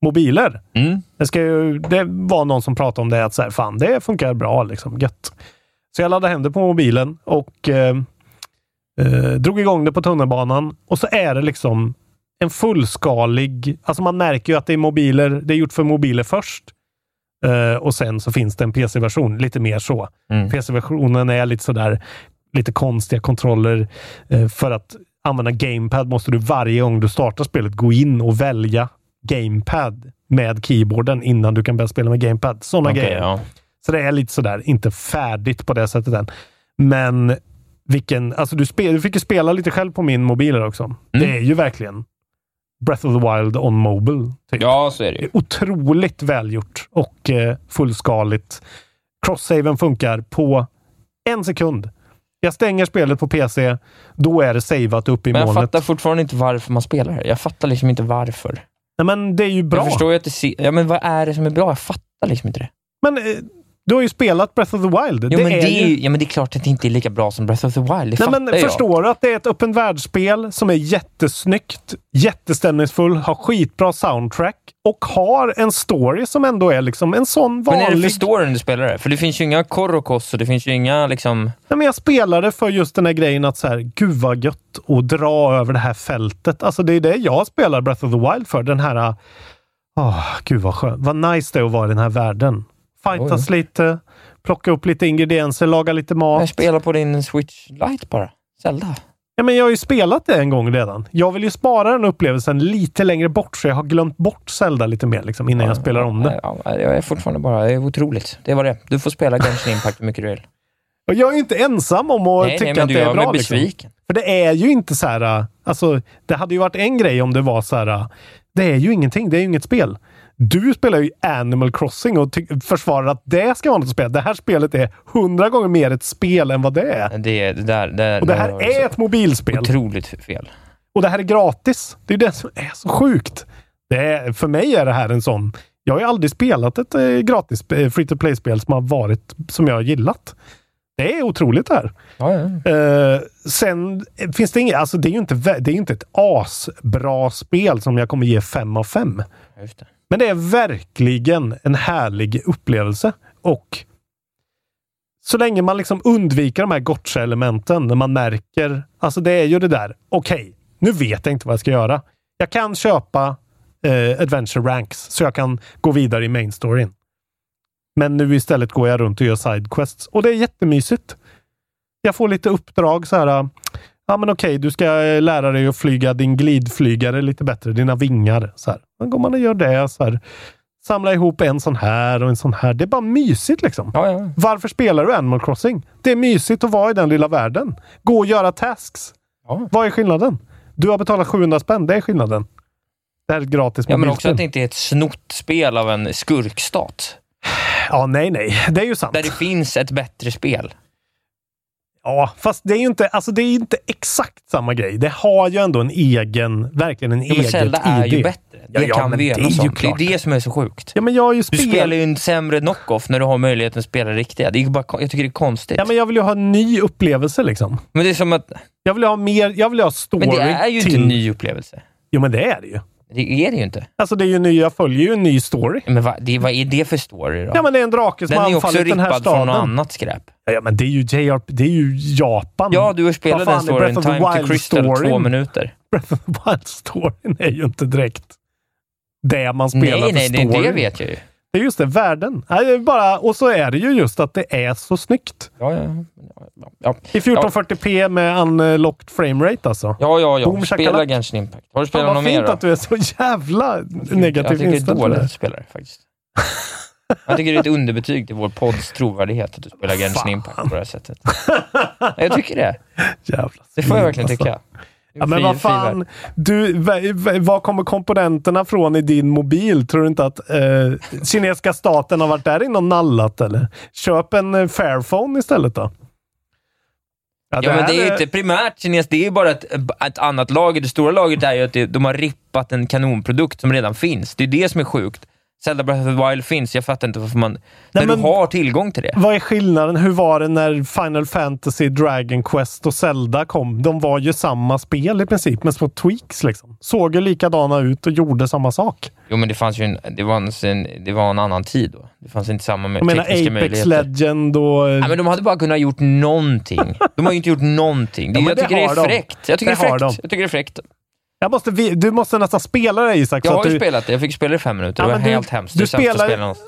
mobiler. Mm. Det, ska ju, det var någon som pratade om det, att så här, fan, det funkar bra. Liksom, gött. Så jag laddade hem det på mobilen och eh, eh, drog igång det på tunnelbanan. Och så är det liksom en fullskalig... Alltså man märker ju att det är mobiler. Det är gjort för mobiler först. Eh, och sen så finns det en PC-version, lite mer så. Mm. PC-versionen är lite sådär, lite konstiga kontroller. Eh, för att använda GamePad måste du varje gång du startar spelet gå in och välja GamePad med keyboarden innan du kan börja spela med GamePad. Sådana Okej, grejer. ja. Så det är lite sådär, inte färdigt på det sättet än. Men vilken, alltså du, spel, du fick ju spela lite själv på min mobil här Mm. också. Det är ju verkligen Breath of the Wild on mobile. Typ. ja, så är det ju. Otroligt välgjort och eh, fullskaligt. Cross-saven funkar på en sekund. Jag stänger spelet på PC, då är det saveat upp i Men jag molnet. fattar fortfarande inte varför man spelar det. Jag fattar liksom inte varför. Nej, men det är ju bra. Jag förstår ju att det ser... Ja, men vad är det som är bra? Jag fattar liksom inte det. Men eh, du har ju spelat Breath of the Wild. Jo, men är det är ju- ju... Ja, men det är klart att det inte är lika bra som Breath of the Wild. Det Nej, fattar men jag. förstår du att det är ett öppen världsspel som är jättesnyggt, jättestämningsfull, har skitbra soundtrack och har en story som ändå är liksom en sån Men är det för vanlig... storyn du spelar det? För det finns ju inga Korokos och det finns ju inga liksom... Nej, men jag spelade för just den här grejen att så här, gud vad gött att dra över det här fältet. Alltså det är det jag spelar Breath of the Wild för. Den här... Oh, gud vad skönt. Vad nice det är att vara i den här världen. Fightas lite, plocka upp lite ingredienser, laga lite mat. Jag spelar på din Switch Lite bara. Zelda. Ja, men jag har ju spelat det en gång redan. Jag vill ju spara den upplevelsen lite längre bort, så jag har glömt bort Zelda lite mer liksom, innan jag spelar om det. Ja, ja, jag är fortfarande bara... Det är otroligt. Det var det. Du får spela Genshin Impact hur mycket du vill. Och jag är ju inte ensam om att Nej, tycka nej, men att du det är gör mig bra. Liksom. besviken. För det är ju inte så här... äh, Alltså, det hade ju varit en grej om det var så här... äh, Det är ju ingenting. Det är ju inget spel. Du spelar ju Animal Crossing och ty- försvarar att det ska vara något spel. Det här spelet är hundra gånger mer ett spel än vad det är. Det, det där... där Och det där här har du är ett mobilspel. Otroligt fel. Och det här är gratis. Det är det som är så sjukt. Det är, för mig är det här en sån... Jag har ju aldrig spelat ett eh, gratis eh, free to play-spel som har varit som jag har gillat. Det är otroligt det här. Ja, ja. Eh, sen eh, finns det inget... Alltså det är ju inte, vä- det är ju inte ett asbra spel som jag kommer ge fem av fem. Just det. Men det är verkligen en härlig upplevelse. Och så länge man liksom undviker de här gotcha-elementen när man märker, alltså det är ju det där, okej, nu vet jag inte vad jag ska göra. Jag kan köpa eh, adventure ranks så jag kan gå vidare i main storyn. Men nu istället går jag runt och gör sidequests och det är jättemysigt. Jag får lite uppdrag så här. Ja, men okej, du ska eh, lära dig att flyga din glidflygare lite bättre, dina vingar. Så här. Då går man och gör det. Så här. Samla ihop en sån här och en sån här. Det är bara mysigt liksom. Ja, ja. Varför spelar du Animal Crossing? Det är mysigt att vara i den lilla världen. Gå och göra tasks. Ja. Vad är skillnaden? Du har betalat 700 spänn. Det är skillnaden. Det här är ett gratis ja, men också mobilspel. att det inte är ett snott spel av en skurkstat. Ja, nej, nej. Det är ju sant. Där det finns ett bättre spel. Ja, fast det är ju inte, alltså det är inte exakt samma grej. Det har ju ändå en egen, verkligen en Ja, men eget Zelda är idé. ju bättre. Ja, Det ja, kan men vi det är enas ju om. Det är klart. det som är så sjukt. Ja, men jag har ju Du spel- spelar ju en sämre knockoff när du har möjligheten att spela riktiga. Det är ju bara, kon- jag tycker det är konstigt. Ja, men, men jag vill ju ha en ny upplevelse liksom. det är som att... Jag vill ju ha mer, jag vill ju ha story. Men det är ju till... inte en ny upplevelse. Jo, men det är det ju. Det är det ju inte. Alltså, det är ju en ny, jag följer ju en ny story. Men vad, det, vad är det för story då? Ja, men det är en drake som den är har ju också anfallit den här rippad från något staden. annat skräp. Ja, ja, men det är ju JRP, det är ju Japan. Ja, du har spelat Vad fan är den storyn. Breath of the Time to Wild Crystal, två storyn? minuter. [LAUGHS] Breath of the Wild-storyn är ju inte direkt det man spelar Nej, för nej, nej, story. det vet jag ju. Det är just det, värden. Nej, det är bara, och så är det ju just att det är så snyggt. Ja, ja, ja, ja. I 1440p med unlocked framerate alltså. Ja, ja, ja. Boom, Spela shakalak. Genshin Impact. Har Fan, du spelat vad något fint mer? då? att du är så jävla jag negativ tycker det är inställd till dåligt att det. du spelar det faktiskt. Jag tycker det är ett underbetyg till vår podds trovärdighet att du spelar Genshin Impact på det här sättet. Nej, Jag tycker det. Jävla Det får jag svin, verkligen alltså. tycka. Ja, men Fri- vad fan. Du, v- v- var kommer komponenterna från i din mobil? Tror du inte att eh, kinesiska staten har varit där inne och nallat eller? Köp en eh, Fairphone istället då. Ja, men här det är ju inte primärt kinesiskt. Det är ju bara ett, ett annat lager. Det stora lagret är ju att det, de har rippat en kanonprodukt som redan finns. Det är det som är sjukt. Zelda Breath of the Wild finns. Jag fattar inte varför man... när men- du har tillgång till det. eh, Vad är skillnaden? Hur var det när Final Fantasy, Dragon Quest och Zelda kom? De var ju samma spel i princip, men små tweaks liksom. Såg ju likadana ut och gjorde samma sak. Jo, men det fanns ju en, det var en, en, det var en annan tid då. Det fanns inte samma Jag med menar tekniska Apex möjligheter. Legend och... eh, Nej, men de hade bara kunnat gjort någonting. De har ju inte gjort någonting. Det, Ja, men jag, det tycker det har är de. fräckt. jag tycker Det det är har fräckt. de. Jag tycker det är fräckt. Jag måste, vi- du måste nästan spela det Isak. Jag så har att ju du, spelat det. Jag fick spela det i fem minuter. Ja, det var men du- helt hemskt. du det sämsta spelar- spelet jag någonsin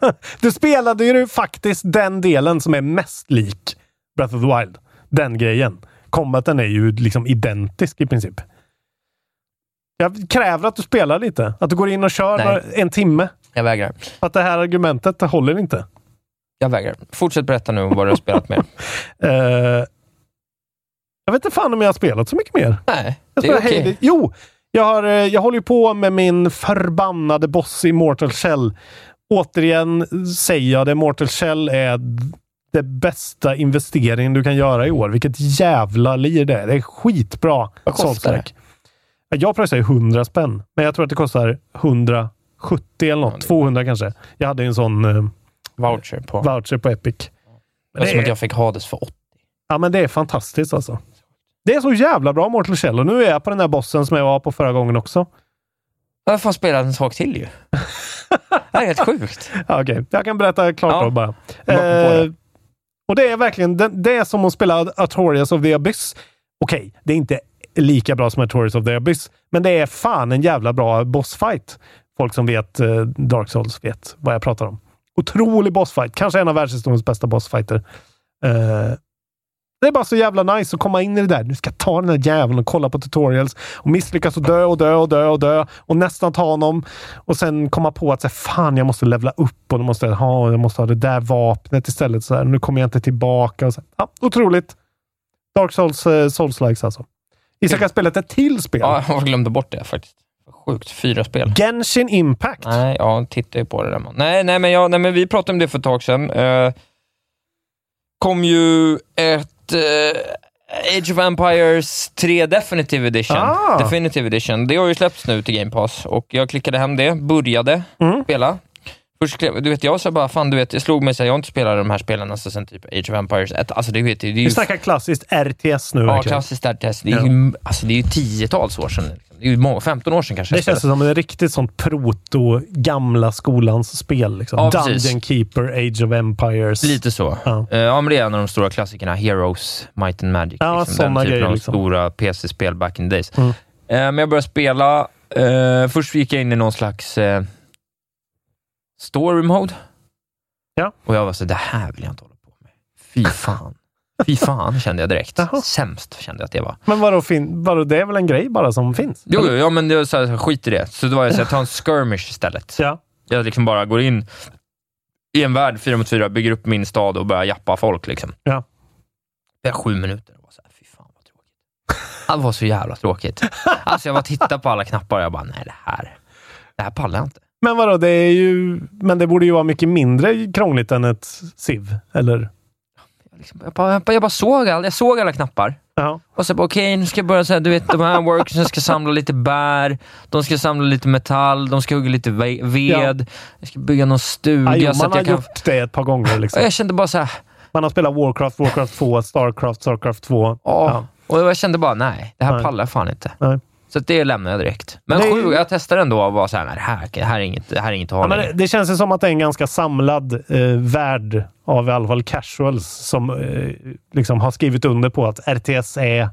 spelat. du spelade ju faktiskt den delen som är mest lik Breath of the Wild. Den grejen. Combaten är ju liksom identisk i princip. Jag kräver att du spelar lite. Att du går in och kör Nej. några- en timme. Jag vägrar. För att det här argumentet det håller inte. Jag vägrar. Fortsätt berätta nu om vad du har [LAUGHS] spelat mer. Eh, jag vet inte fan om jag har spelat så mycket mer. Nej, Jag det är spelar okej. Hades. Jo! Jag, har, eh, jag håller ju på med min förbannade boss i Mortal Shell. Återigen säger jag det, Mortal Shell är d- det bästa investeringen du kan göra i år. Vilket jävla lir det är. Det är skitbra. Vad kostar sålsverk. Ja, Jag pröjsar ju 100 spänn, men jag tror att det kostar 170 eller något. 200 kanske. Jag hade ju en sån eh, Voucher på. voucher på Epic. det var som det- att jag fick Hades för åtta. Ja, men det är fantastiskt alltså. Det är så jävla bra Mortal Shell och nu är jag på den där bossen som jag var på förra gången också. Jag har fan spelat en [LAUGHS] sak till ju. Det här är helt sjukt. Ja, Okej, jag kan berätta klart Ja. då bara. på Eh, det. och det är verkligen, det, det är som att spela Artorias of the Abyss. Okej, det är inte lika bra som Artorias of the Abyss, men det är fan en jävla bra bossfight. Folk som vet eh, Dark Souls vet vad jag pratar om. Otrolig bossfight. Kanske en av världshistoriens bästa bossfighter. Eh, det är bara så jävla nice att komma in i det där. Nu ska jag ta den där jäveln och kolla på tutorials och misslyckas och dö och dö och dö och dö och nästan ta honom och sen komma på att så här, fan, jag måste levla upp och då måste jag, ha, jag måste ha det där vapnet istället. Så här, nu kommer jag inte tillbaka. Och så, här. ja, otroligt. Dark Souls, eh, Souls-likes alltså. Isak har spelat ett till spel. Ja, jag glömde bort det faktiskt. Vad Sjukt. Fyra spel. Genshin Impact. Nej, jag tittar ju på det där. Man. Nej, nej, men jag, nej, men vi pratade om det för ett tag sedan. Eh, kom ju ett eh, Age of Empires 3 Definitive Edition. Ah. Definitive Edition. Det har ju släppts nu till Game Pass och jag klickade hem det, började Mm. spela. Först, klev- du vet, jag sa bara, fan du vet, jag slog mig så här, jag har inte spelat de här spelen alltså, sen typ Age of Empires 1. Alltså det, vet, det är ju Vi snackar klassiskt RTS nu. ja, verkligen. klassiskt där test. Det är ju, alltså, det är ju tiotals år sedan. liksom. Det är ju må- 15 år sedan kanske. Det jag spelade. känns som en riktigt sånt proto gamla skolans spel. Liksom. Ja, Dungeon precis. Keeper, Age of Empires. Lite så. Ja. Ja. ja, men det är en av de stora klassikerna. Heroes, Might and Magic. Ja, den såna typen grejer, av liksom. stora PC-spel back in the days. Mm. Eh, men jag började spela. Eh, först gick jag in i någon slags eh, story mode. Ja. Och jag var så det här vill jag inte hålla på med. [LAUGHS] Fy fan. Fy fan, kände jag direkt. Jaha. Sämst kände jag att det var. Men vadå, fin- vadå, det är väl en grej bara som finns? Jo, jo ja, men det var så här, skit i det. Så då var jag så här, ta en skirmish istället. Ja. Jag liksom bara går in i en värld, fyra mot fyra, bygger upp min stad och börjar jappa folk. Liksom. Ja. Det är sju minuter och var så här, fy fan vad tråkigt. Det var så jävla tråkigt. Alltså jag bara tittade på alla knappar och jag bara, nej det här, det här pallar jag inte. Men vadå, det är ju... Men det borde ju vara mycket mindre krångligt än ett SIV, eller? Jag, liksom, jag, bara, jag, bara, jag bara såg alla, jag såg alla knappar. Ja. Och så bara, okej, nu ska jag börja så här, du vet de här workersen ska samla lite bär, de ska samla lite metall, de ska hugga lite ve- ved, jag ska bygga någon stuga Jo, så man att har jag kan... gjort det ett par gånger. Och Liksom. jag kände bara så här, Man har spelat Warcraft, Warcraft 2, Starcraft, Starcraft 2. Ja. Och jag kände bara, nej, det här Nej. pallar jag fan inte. Nej. Så att det lämnade jag direkt. Men Det är- sju, jag testade ändå och var såhär, nej, det här, det här är inget, det här är inget att Ja, ha men längre. det, det känns ju som att det är en ganska samlad eh, värld av i alla fall casuals som eh, liksom har skrivit under på att RTS är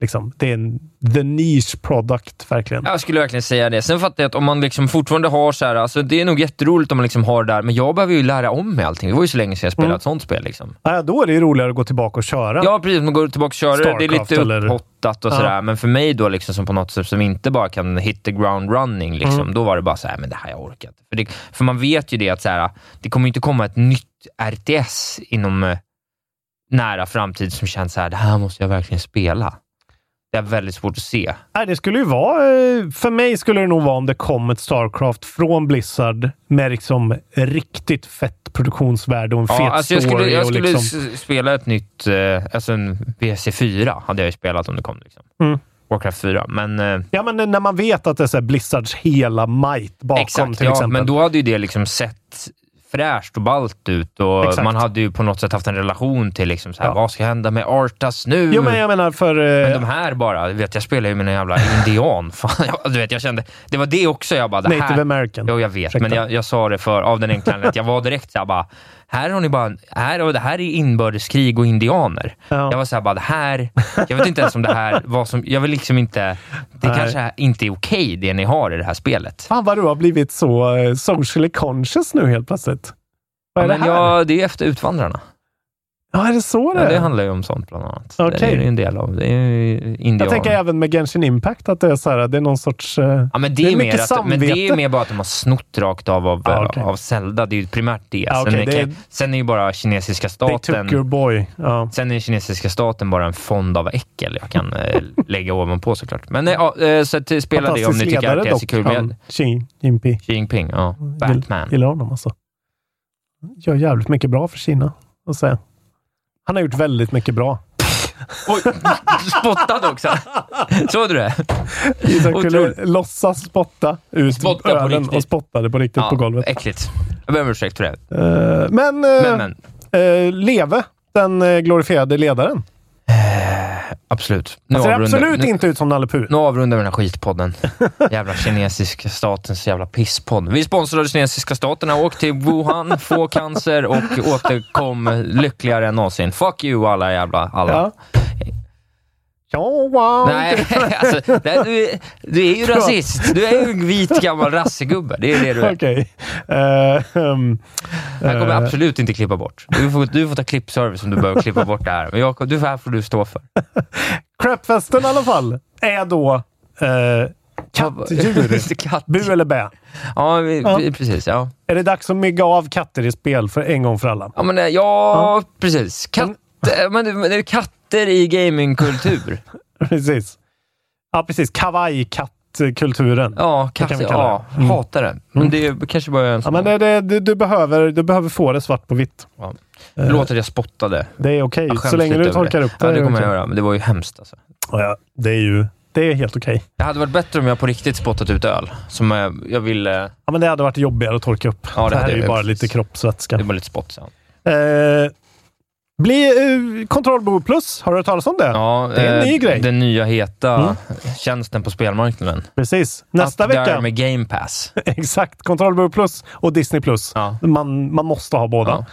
Liksom, det är en the niche product, verkligen. Jag skulle verkligen säga det. Sen fattar jag att om man liksom fortfarande har så här, alltså det är nog jätteroligt om man liksom har det där, men jag behöver ju lära om mig allting. Det var ju så länge sedan jag spelade Mm. ett sånt spel. Liksom. Ja, då är det ju roligare att gå tillbaka och köra. Ja, precis. Man går tillbaka och kör. det är Starcraft lite eller- upphottat och Ja. sådär. Men för mig då, liksom, som på något sätt som inte bara kan hit the ground running, liksom, Mm. då var det bara så här, men det här jag orkar inte. För, det, för man vet ju det att så här, det kommer ju inte komma ett nytt RTS inom eh, nära framtid som känns så här, det här måste jag verkligen spela. Det är väldigt svårt att se. Nej, det skulle ju vara... eh, För mig skulle det nog vara om det kom ett Starcraft från Blizzard med liksom riktigt fett produktionsvärde och en fet alltså jag story. skulle, jag och skulle liksom, s- spela ett nytt, eh, alltså en VC4 hade jag ju spelat om det kom. Liksom. Mm. Warcraft 4, men... eh, Ja, men när man vet att det är så här Blizzards hela might bakom till ja, exempel. men då hade ju det liksom sett fräscht och ballt ut och Exakt. man hade ju på något sätt haft en relation till liksom så här, Ja. vad ska hända med Artas nu? Jo, men jag menar för... eh, Men de här bara, vet, jag spelar ju mina jävla [LAUGHS] indian. Fan, jag, du vet, jag kände, det var det också jag bara, det Native här, American. Jo, jag vet, men jag, jag sa det för, av den enkla anledningen att jag var direkt såhär bara, här har ni bara, här, och det här är inbördeskrig och indianer. Ja. Jag var såhär bara, det här, jag vet inte ens om det här, vad som, jag vill liksom inte, det Nej. kanske inte är okej det ni har i det här spelet. Fan vad du har blivit så eh, socially conscious nu helt plötsligt. Vad är Ja, det men här? Ja, ja, det är efter Utvandrarna. är det så det Ja, är? det handlar ju om sånt bland annat. Det Okej. är ju en del av det. är ju indianer. Jag tänker även med Genshin Impact att det är så här, det är någon sorts... eh, Ja, men det, det är är mer mycket att, men det är samvete. mer bara att de har snott rakt av av, Ja, okej. av Zelda. Det är ju primärt det. Ja, sen, okej, är, det det... sen är ju bara kinesiska They took your staten... boy. Ja. Sen är kinesiska staten bara en fond av äckel jag [LAUGHS] kan eh, lägga ovanpå såklart. Men eh, ja, eh, så att, eh, spela det om ni Fantastisk tycker att det är så kul. Men jag- han, Xi Jinping. Xi Jinping, ja. Gill- Batman. Gillar honom alltså. Gör jävligt mycket bra för Kina, att säga. Han har gjort väldigt mycket [LAUGHS] bra. Oj, [LAUGHS] du [LAUGHS] spottade också! Såg du det? Isak skulle Otroligt. låtsas spotta ut Spotta på ölen riktigt. och spottade på riktigt på golvet. äckligt. Jag ber om ursäkt för det. Eh, men, eh, Men, men. eh, leve den eh, glorifierade ledaren. Absolut. Nu Han ser avrundar- Alltså, absolut nu- inte ut som Nalle Puh. Nu avrundar vi den här skitpodden. [LAUGHS] Jävla kinesiska statens jävla pisspodd. Vi sponsrar den kinesiska staten. Åk [LAUGHS] till Wuhan, få cancer och återkom lyckligare än någonsin. Fuck you alla jävla alla. Ja. Ja, wow. Nej, [LAUGHS] alltså, nej, du, du är ju rasist. Du är ju en vit gammal rassegubbe. Det är det du är. [LAUGHS] Okej. Eh, [LAUGHS] ehm, Det här kommer jag eh, absolut inte klippa bort. Du får, du får ta klippservice om du behöver klippa bort det här. Men Jakob, du, det här får du stå för. Crapfesten i alla fall är då eh, [LAUGHS] kattdjur. Katt. Bu eller bä? Ja, vi- vi- precis. Ja. Är det dags att mygga av katter i spel för en gång för alla? [LAUGHS] Ja, men, eh, ja, precis. Katt, Mm. eh, men, det- men det är katter i gamingkultur. Precis. Ja, precis. Kawaii-kattkulturen. Ja, kan katter. vi kalla Mm. Ja, hatar det. Men det är kanske bara en Ja, sån. men det, det, du, du, behöver, du behöver få det svart på vitt. Ja. Förlåt att jag spottade. Det är okej, Jag skäms så länge lite du över torkar upp det. Ja, är det kommer jag okej. göra. Men det var ju hemskt alltså. Ja, ja, det är ju det är helt okej. Det hade varit bättre om jag på riktigt spottat ut öl. Som eh, jag ville... Ja, men det hade varit jobbigare att torka upp. Ja, det det, här hade är ju det. bara lite kroppsvätska. Det var lite spott sen. Eh, bli eh, kontrollbehov plus. Har du hört talas om det? Ja, Det är en eh, ny grej. Den nya heta tjänsten på spelmarknaden. Precis. Nästa Up there vecka. med Game Pass. [LAUGHS] Exakt. Kontrollbehov plus och Disney plus. Ja. Man, man måste ha båda.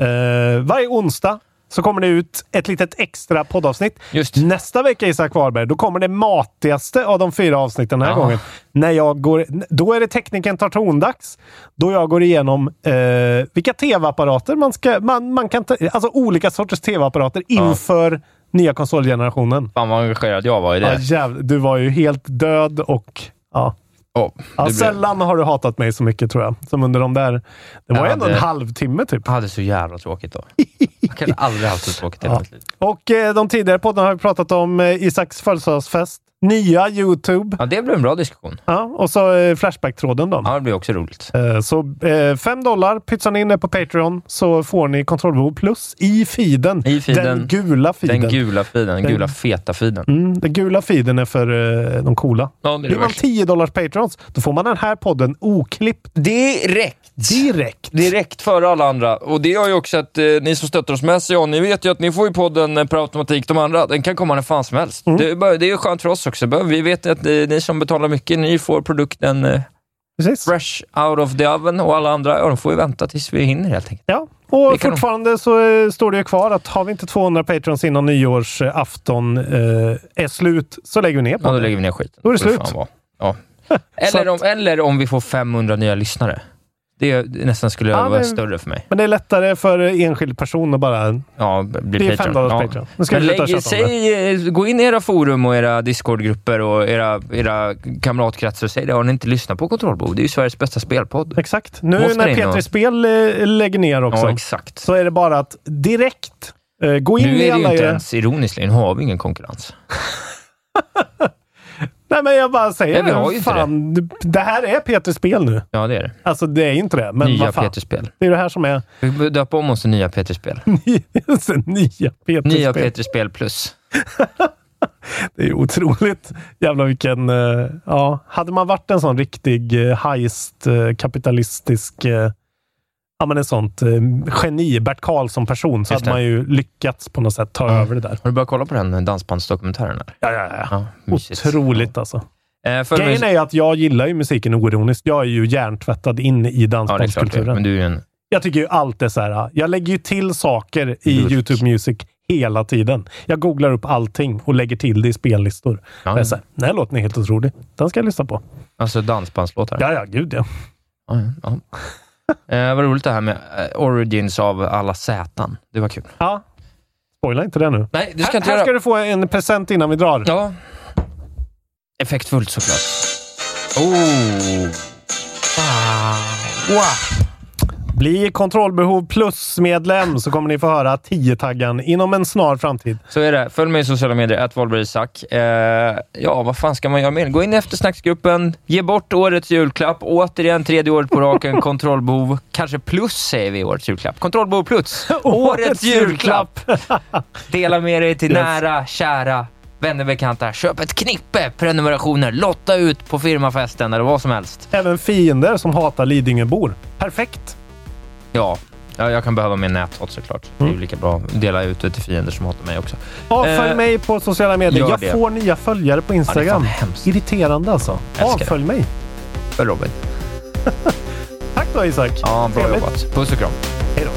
Eh, varje onsdag så kommer det ut ett litet extra poddavsnitt. Just. Nästa vecka, Isak Warberg, då kommer det matigaste av de fyra avsnitten den här Ja. gången. När jag går, då är det tekniken tar ton-dags. Då jag går igenom eh, vilka tv-apparater man ska... Man, man kan ta, alltså olika sorters tv-apparater inför nya konsolgenerationen. Fan vad engagerad jag var i Ja, det. jävlar, du var ju helt död och... Ja. Ja, Ja, det blev- sällan har du hatat mig så mycket tror jag. Som under de där... Det var Ja, ändå det- en halvtimme typ. Jag hade så jävla tråkigt då. Jag kan aldrig ha haft så tråkigt i hela Ja. mitt liv. Och eh, de tidigare poddarna har vi pratat om eh, Isaks födelsedagsfest, nya YouTube Ja, det blev en bra diskussion. ja, och så eh, Flashback-tråden. Då. Ja, det blir också roligt. Eh, så eh, 5 dollar, pytsar ni in det på Patreon så får ni kontrollbehov plus i feeden. I feeden. Den gula feeden. Den gula feeden, den Den- gula feta feeden. mm, den gula feeden är för eh, de coola. Ja, det är Blir man det 10 dollars Patreons, då får man den här podden oklippt Direkt! direkt. Direkt före alla andra. Och det gör ju också att eh, ni som stöttar oss mest, ja, ni vet ju att ni får ju podden eh, per automatik. De andra, den kan komma när fan som helst. Mm. Det, är bara- det är ju skönt för oss också. Bara- Vi vet att eh, ni som betalar mycket, ni får produkten eh, Precis. fresh out of the oven och alla andra, ja, de får ju vänta tills vi hinner helt enkelt. Ja, Och Det kan de- fortfarande så eh, står det ju kvar att har vi inte 200 patrons innan nyårsafton eh, är slut så lägger vi ner på Ja, då det. lägger vi ner skiten. Då är det Får slut. fan vara. [LAUGHS] Ja. Eller, om, eller om vi får 500 nya lyssnare. Det är- det nästan skulle Ja, vara men- större för mig. Men det är lättare för enskild person att bara... Ja, bli Det är Patreon. $5 ja. Patreon. Nu ska Men jag sluta lägg, tjata om säg, eh, gå in i era forum och era Discord-grupper och era, era kamratkretsar och säg det. Har ni inte lyssnat på Kontrollbo? Det är ju Sveriges bästa spelpodd. Exakt. Nu Måste när det in P3 och- Spel eh, lägger ner också Ja, exakt. så är det bara att direkt eh, gå in Nu är det i ju alla inte era... ens ironiskt längre. Nu har vi ingen konkurrens. Nej, men jag bara säger Nej, vi har ju det. inte Fan, det. det här är P3 Spel nu. Ja, det är det. Alltså, det är ju inte det, men Nya vad fan. Peter-spel. Det är det här som är [LAUGHS] Vi bör döpa om oss till Nya Peter-spel. nya P3 Nya Spel. Peter-spel plus. Det är ju otroligt. Jävlar vilken... eh, Ja, hade man varit en sån riktig eh, heist, eh, kapitalistisk... eh, Ja, men en sånt eh, geni, Bert Karlsson-person, så Just hade det. man ju lyckats på något sätt ta över det där. Har du börjat kolla på den dansbandsdokumentären? eller? Ja, ja, ja. Ja, mysigt. Otroligt alltså. Eh, för Grejen är ju att jag gillar ju musiken oironiskt. Jag är ju hjärntvättad in i Ja, det är klart. det. dansbandskulturen. Men du är ju en... Jag tycker ju allt är så här. Jag lägger ju till saker i Lurk. YouTube Music hela tiden. Jag googlar upp allting och lägger till det i spellistor. Ja, Och jag säger, den här låten är helt otrolig. Den ska jag lyssna på. Alltså dansbandslåtar. Ja, ja, gud ja. Ja, ja. Eh, vad roligt det här med eh, origins av alla sätan. Det var kul. ja. Spoila inte det nu. Nej, du ska här, inte här göra... ska du få en present innan vi drar. Ja. Effektfullt såklart. Oh. Ah. Wow. Bli kontrollbehov plus-medlem så kommer ni få höra 10-taggan inom en snar framtid. Så är det. Följ mig i sociala medier, att Isak. Eh, ja, vad fan ska man göra mer? Gå in i eftersnacksgruppen, ge bort årets julklapp. Återigen, tredje året på raken, kontrollbehov. Kanske plus säger vi i årets julklapp. Kontrollbehov plus. årets julklapp. [LAUGHS] Dela med dig till Yes. nära, kära, vänner, bekanta. Köp ett knippe prenumerationer. Lotta ut på firmafesten eller vad som helst. Även fiender som hatar Lidingöbor. Perfekt! Ja, ja jag kan behöva min näthat såklart. Det är ju lika bra att dela ut det till fiender som hatar mig också. Ja, Eh, följ mig på sociala medier. gör Jag det. får nya följare på Ja, det är Instagram. fan hemskt. Irriterande alltså. Älskar det. Avfölj mig. För Robin. Tack då Isak. Ja, bra Trevligt. jobbat. Puss och kram. Hej då.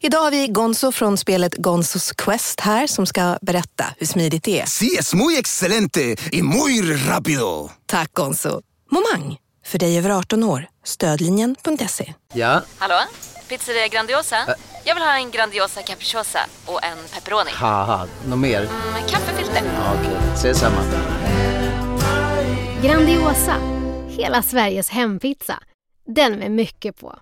Idag har vi Gonzo från spelet Gonzos Quest här som ska berätta hur smidigt det är. Sí, es muy excelente y muy rápido. Tack Gonzo! Momang, för dig över 18 år. Stödlinjen.se. Ja, Hallå? Pizzeria Grandiosa? Jag vill ha en Grandiosa capriciosa och en pepperoni. haha, något mer? Med kaffefilter. Ja, Okej, ses samma. Grandiosa, hela Sveriges hempizza. Den med mycket på.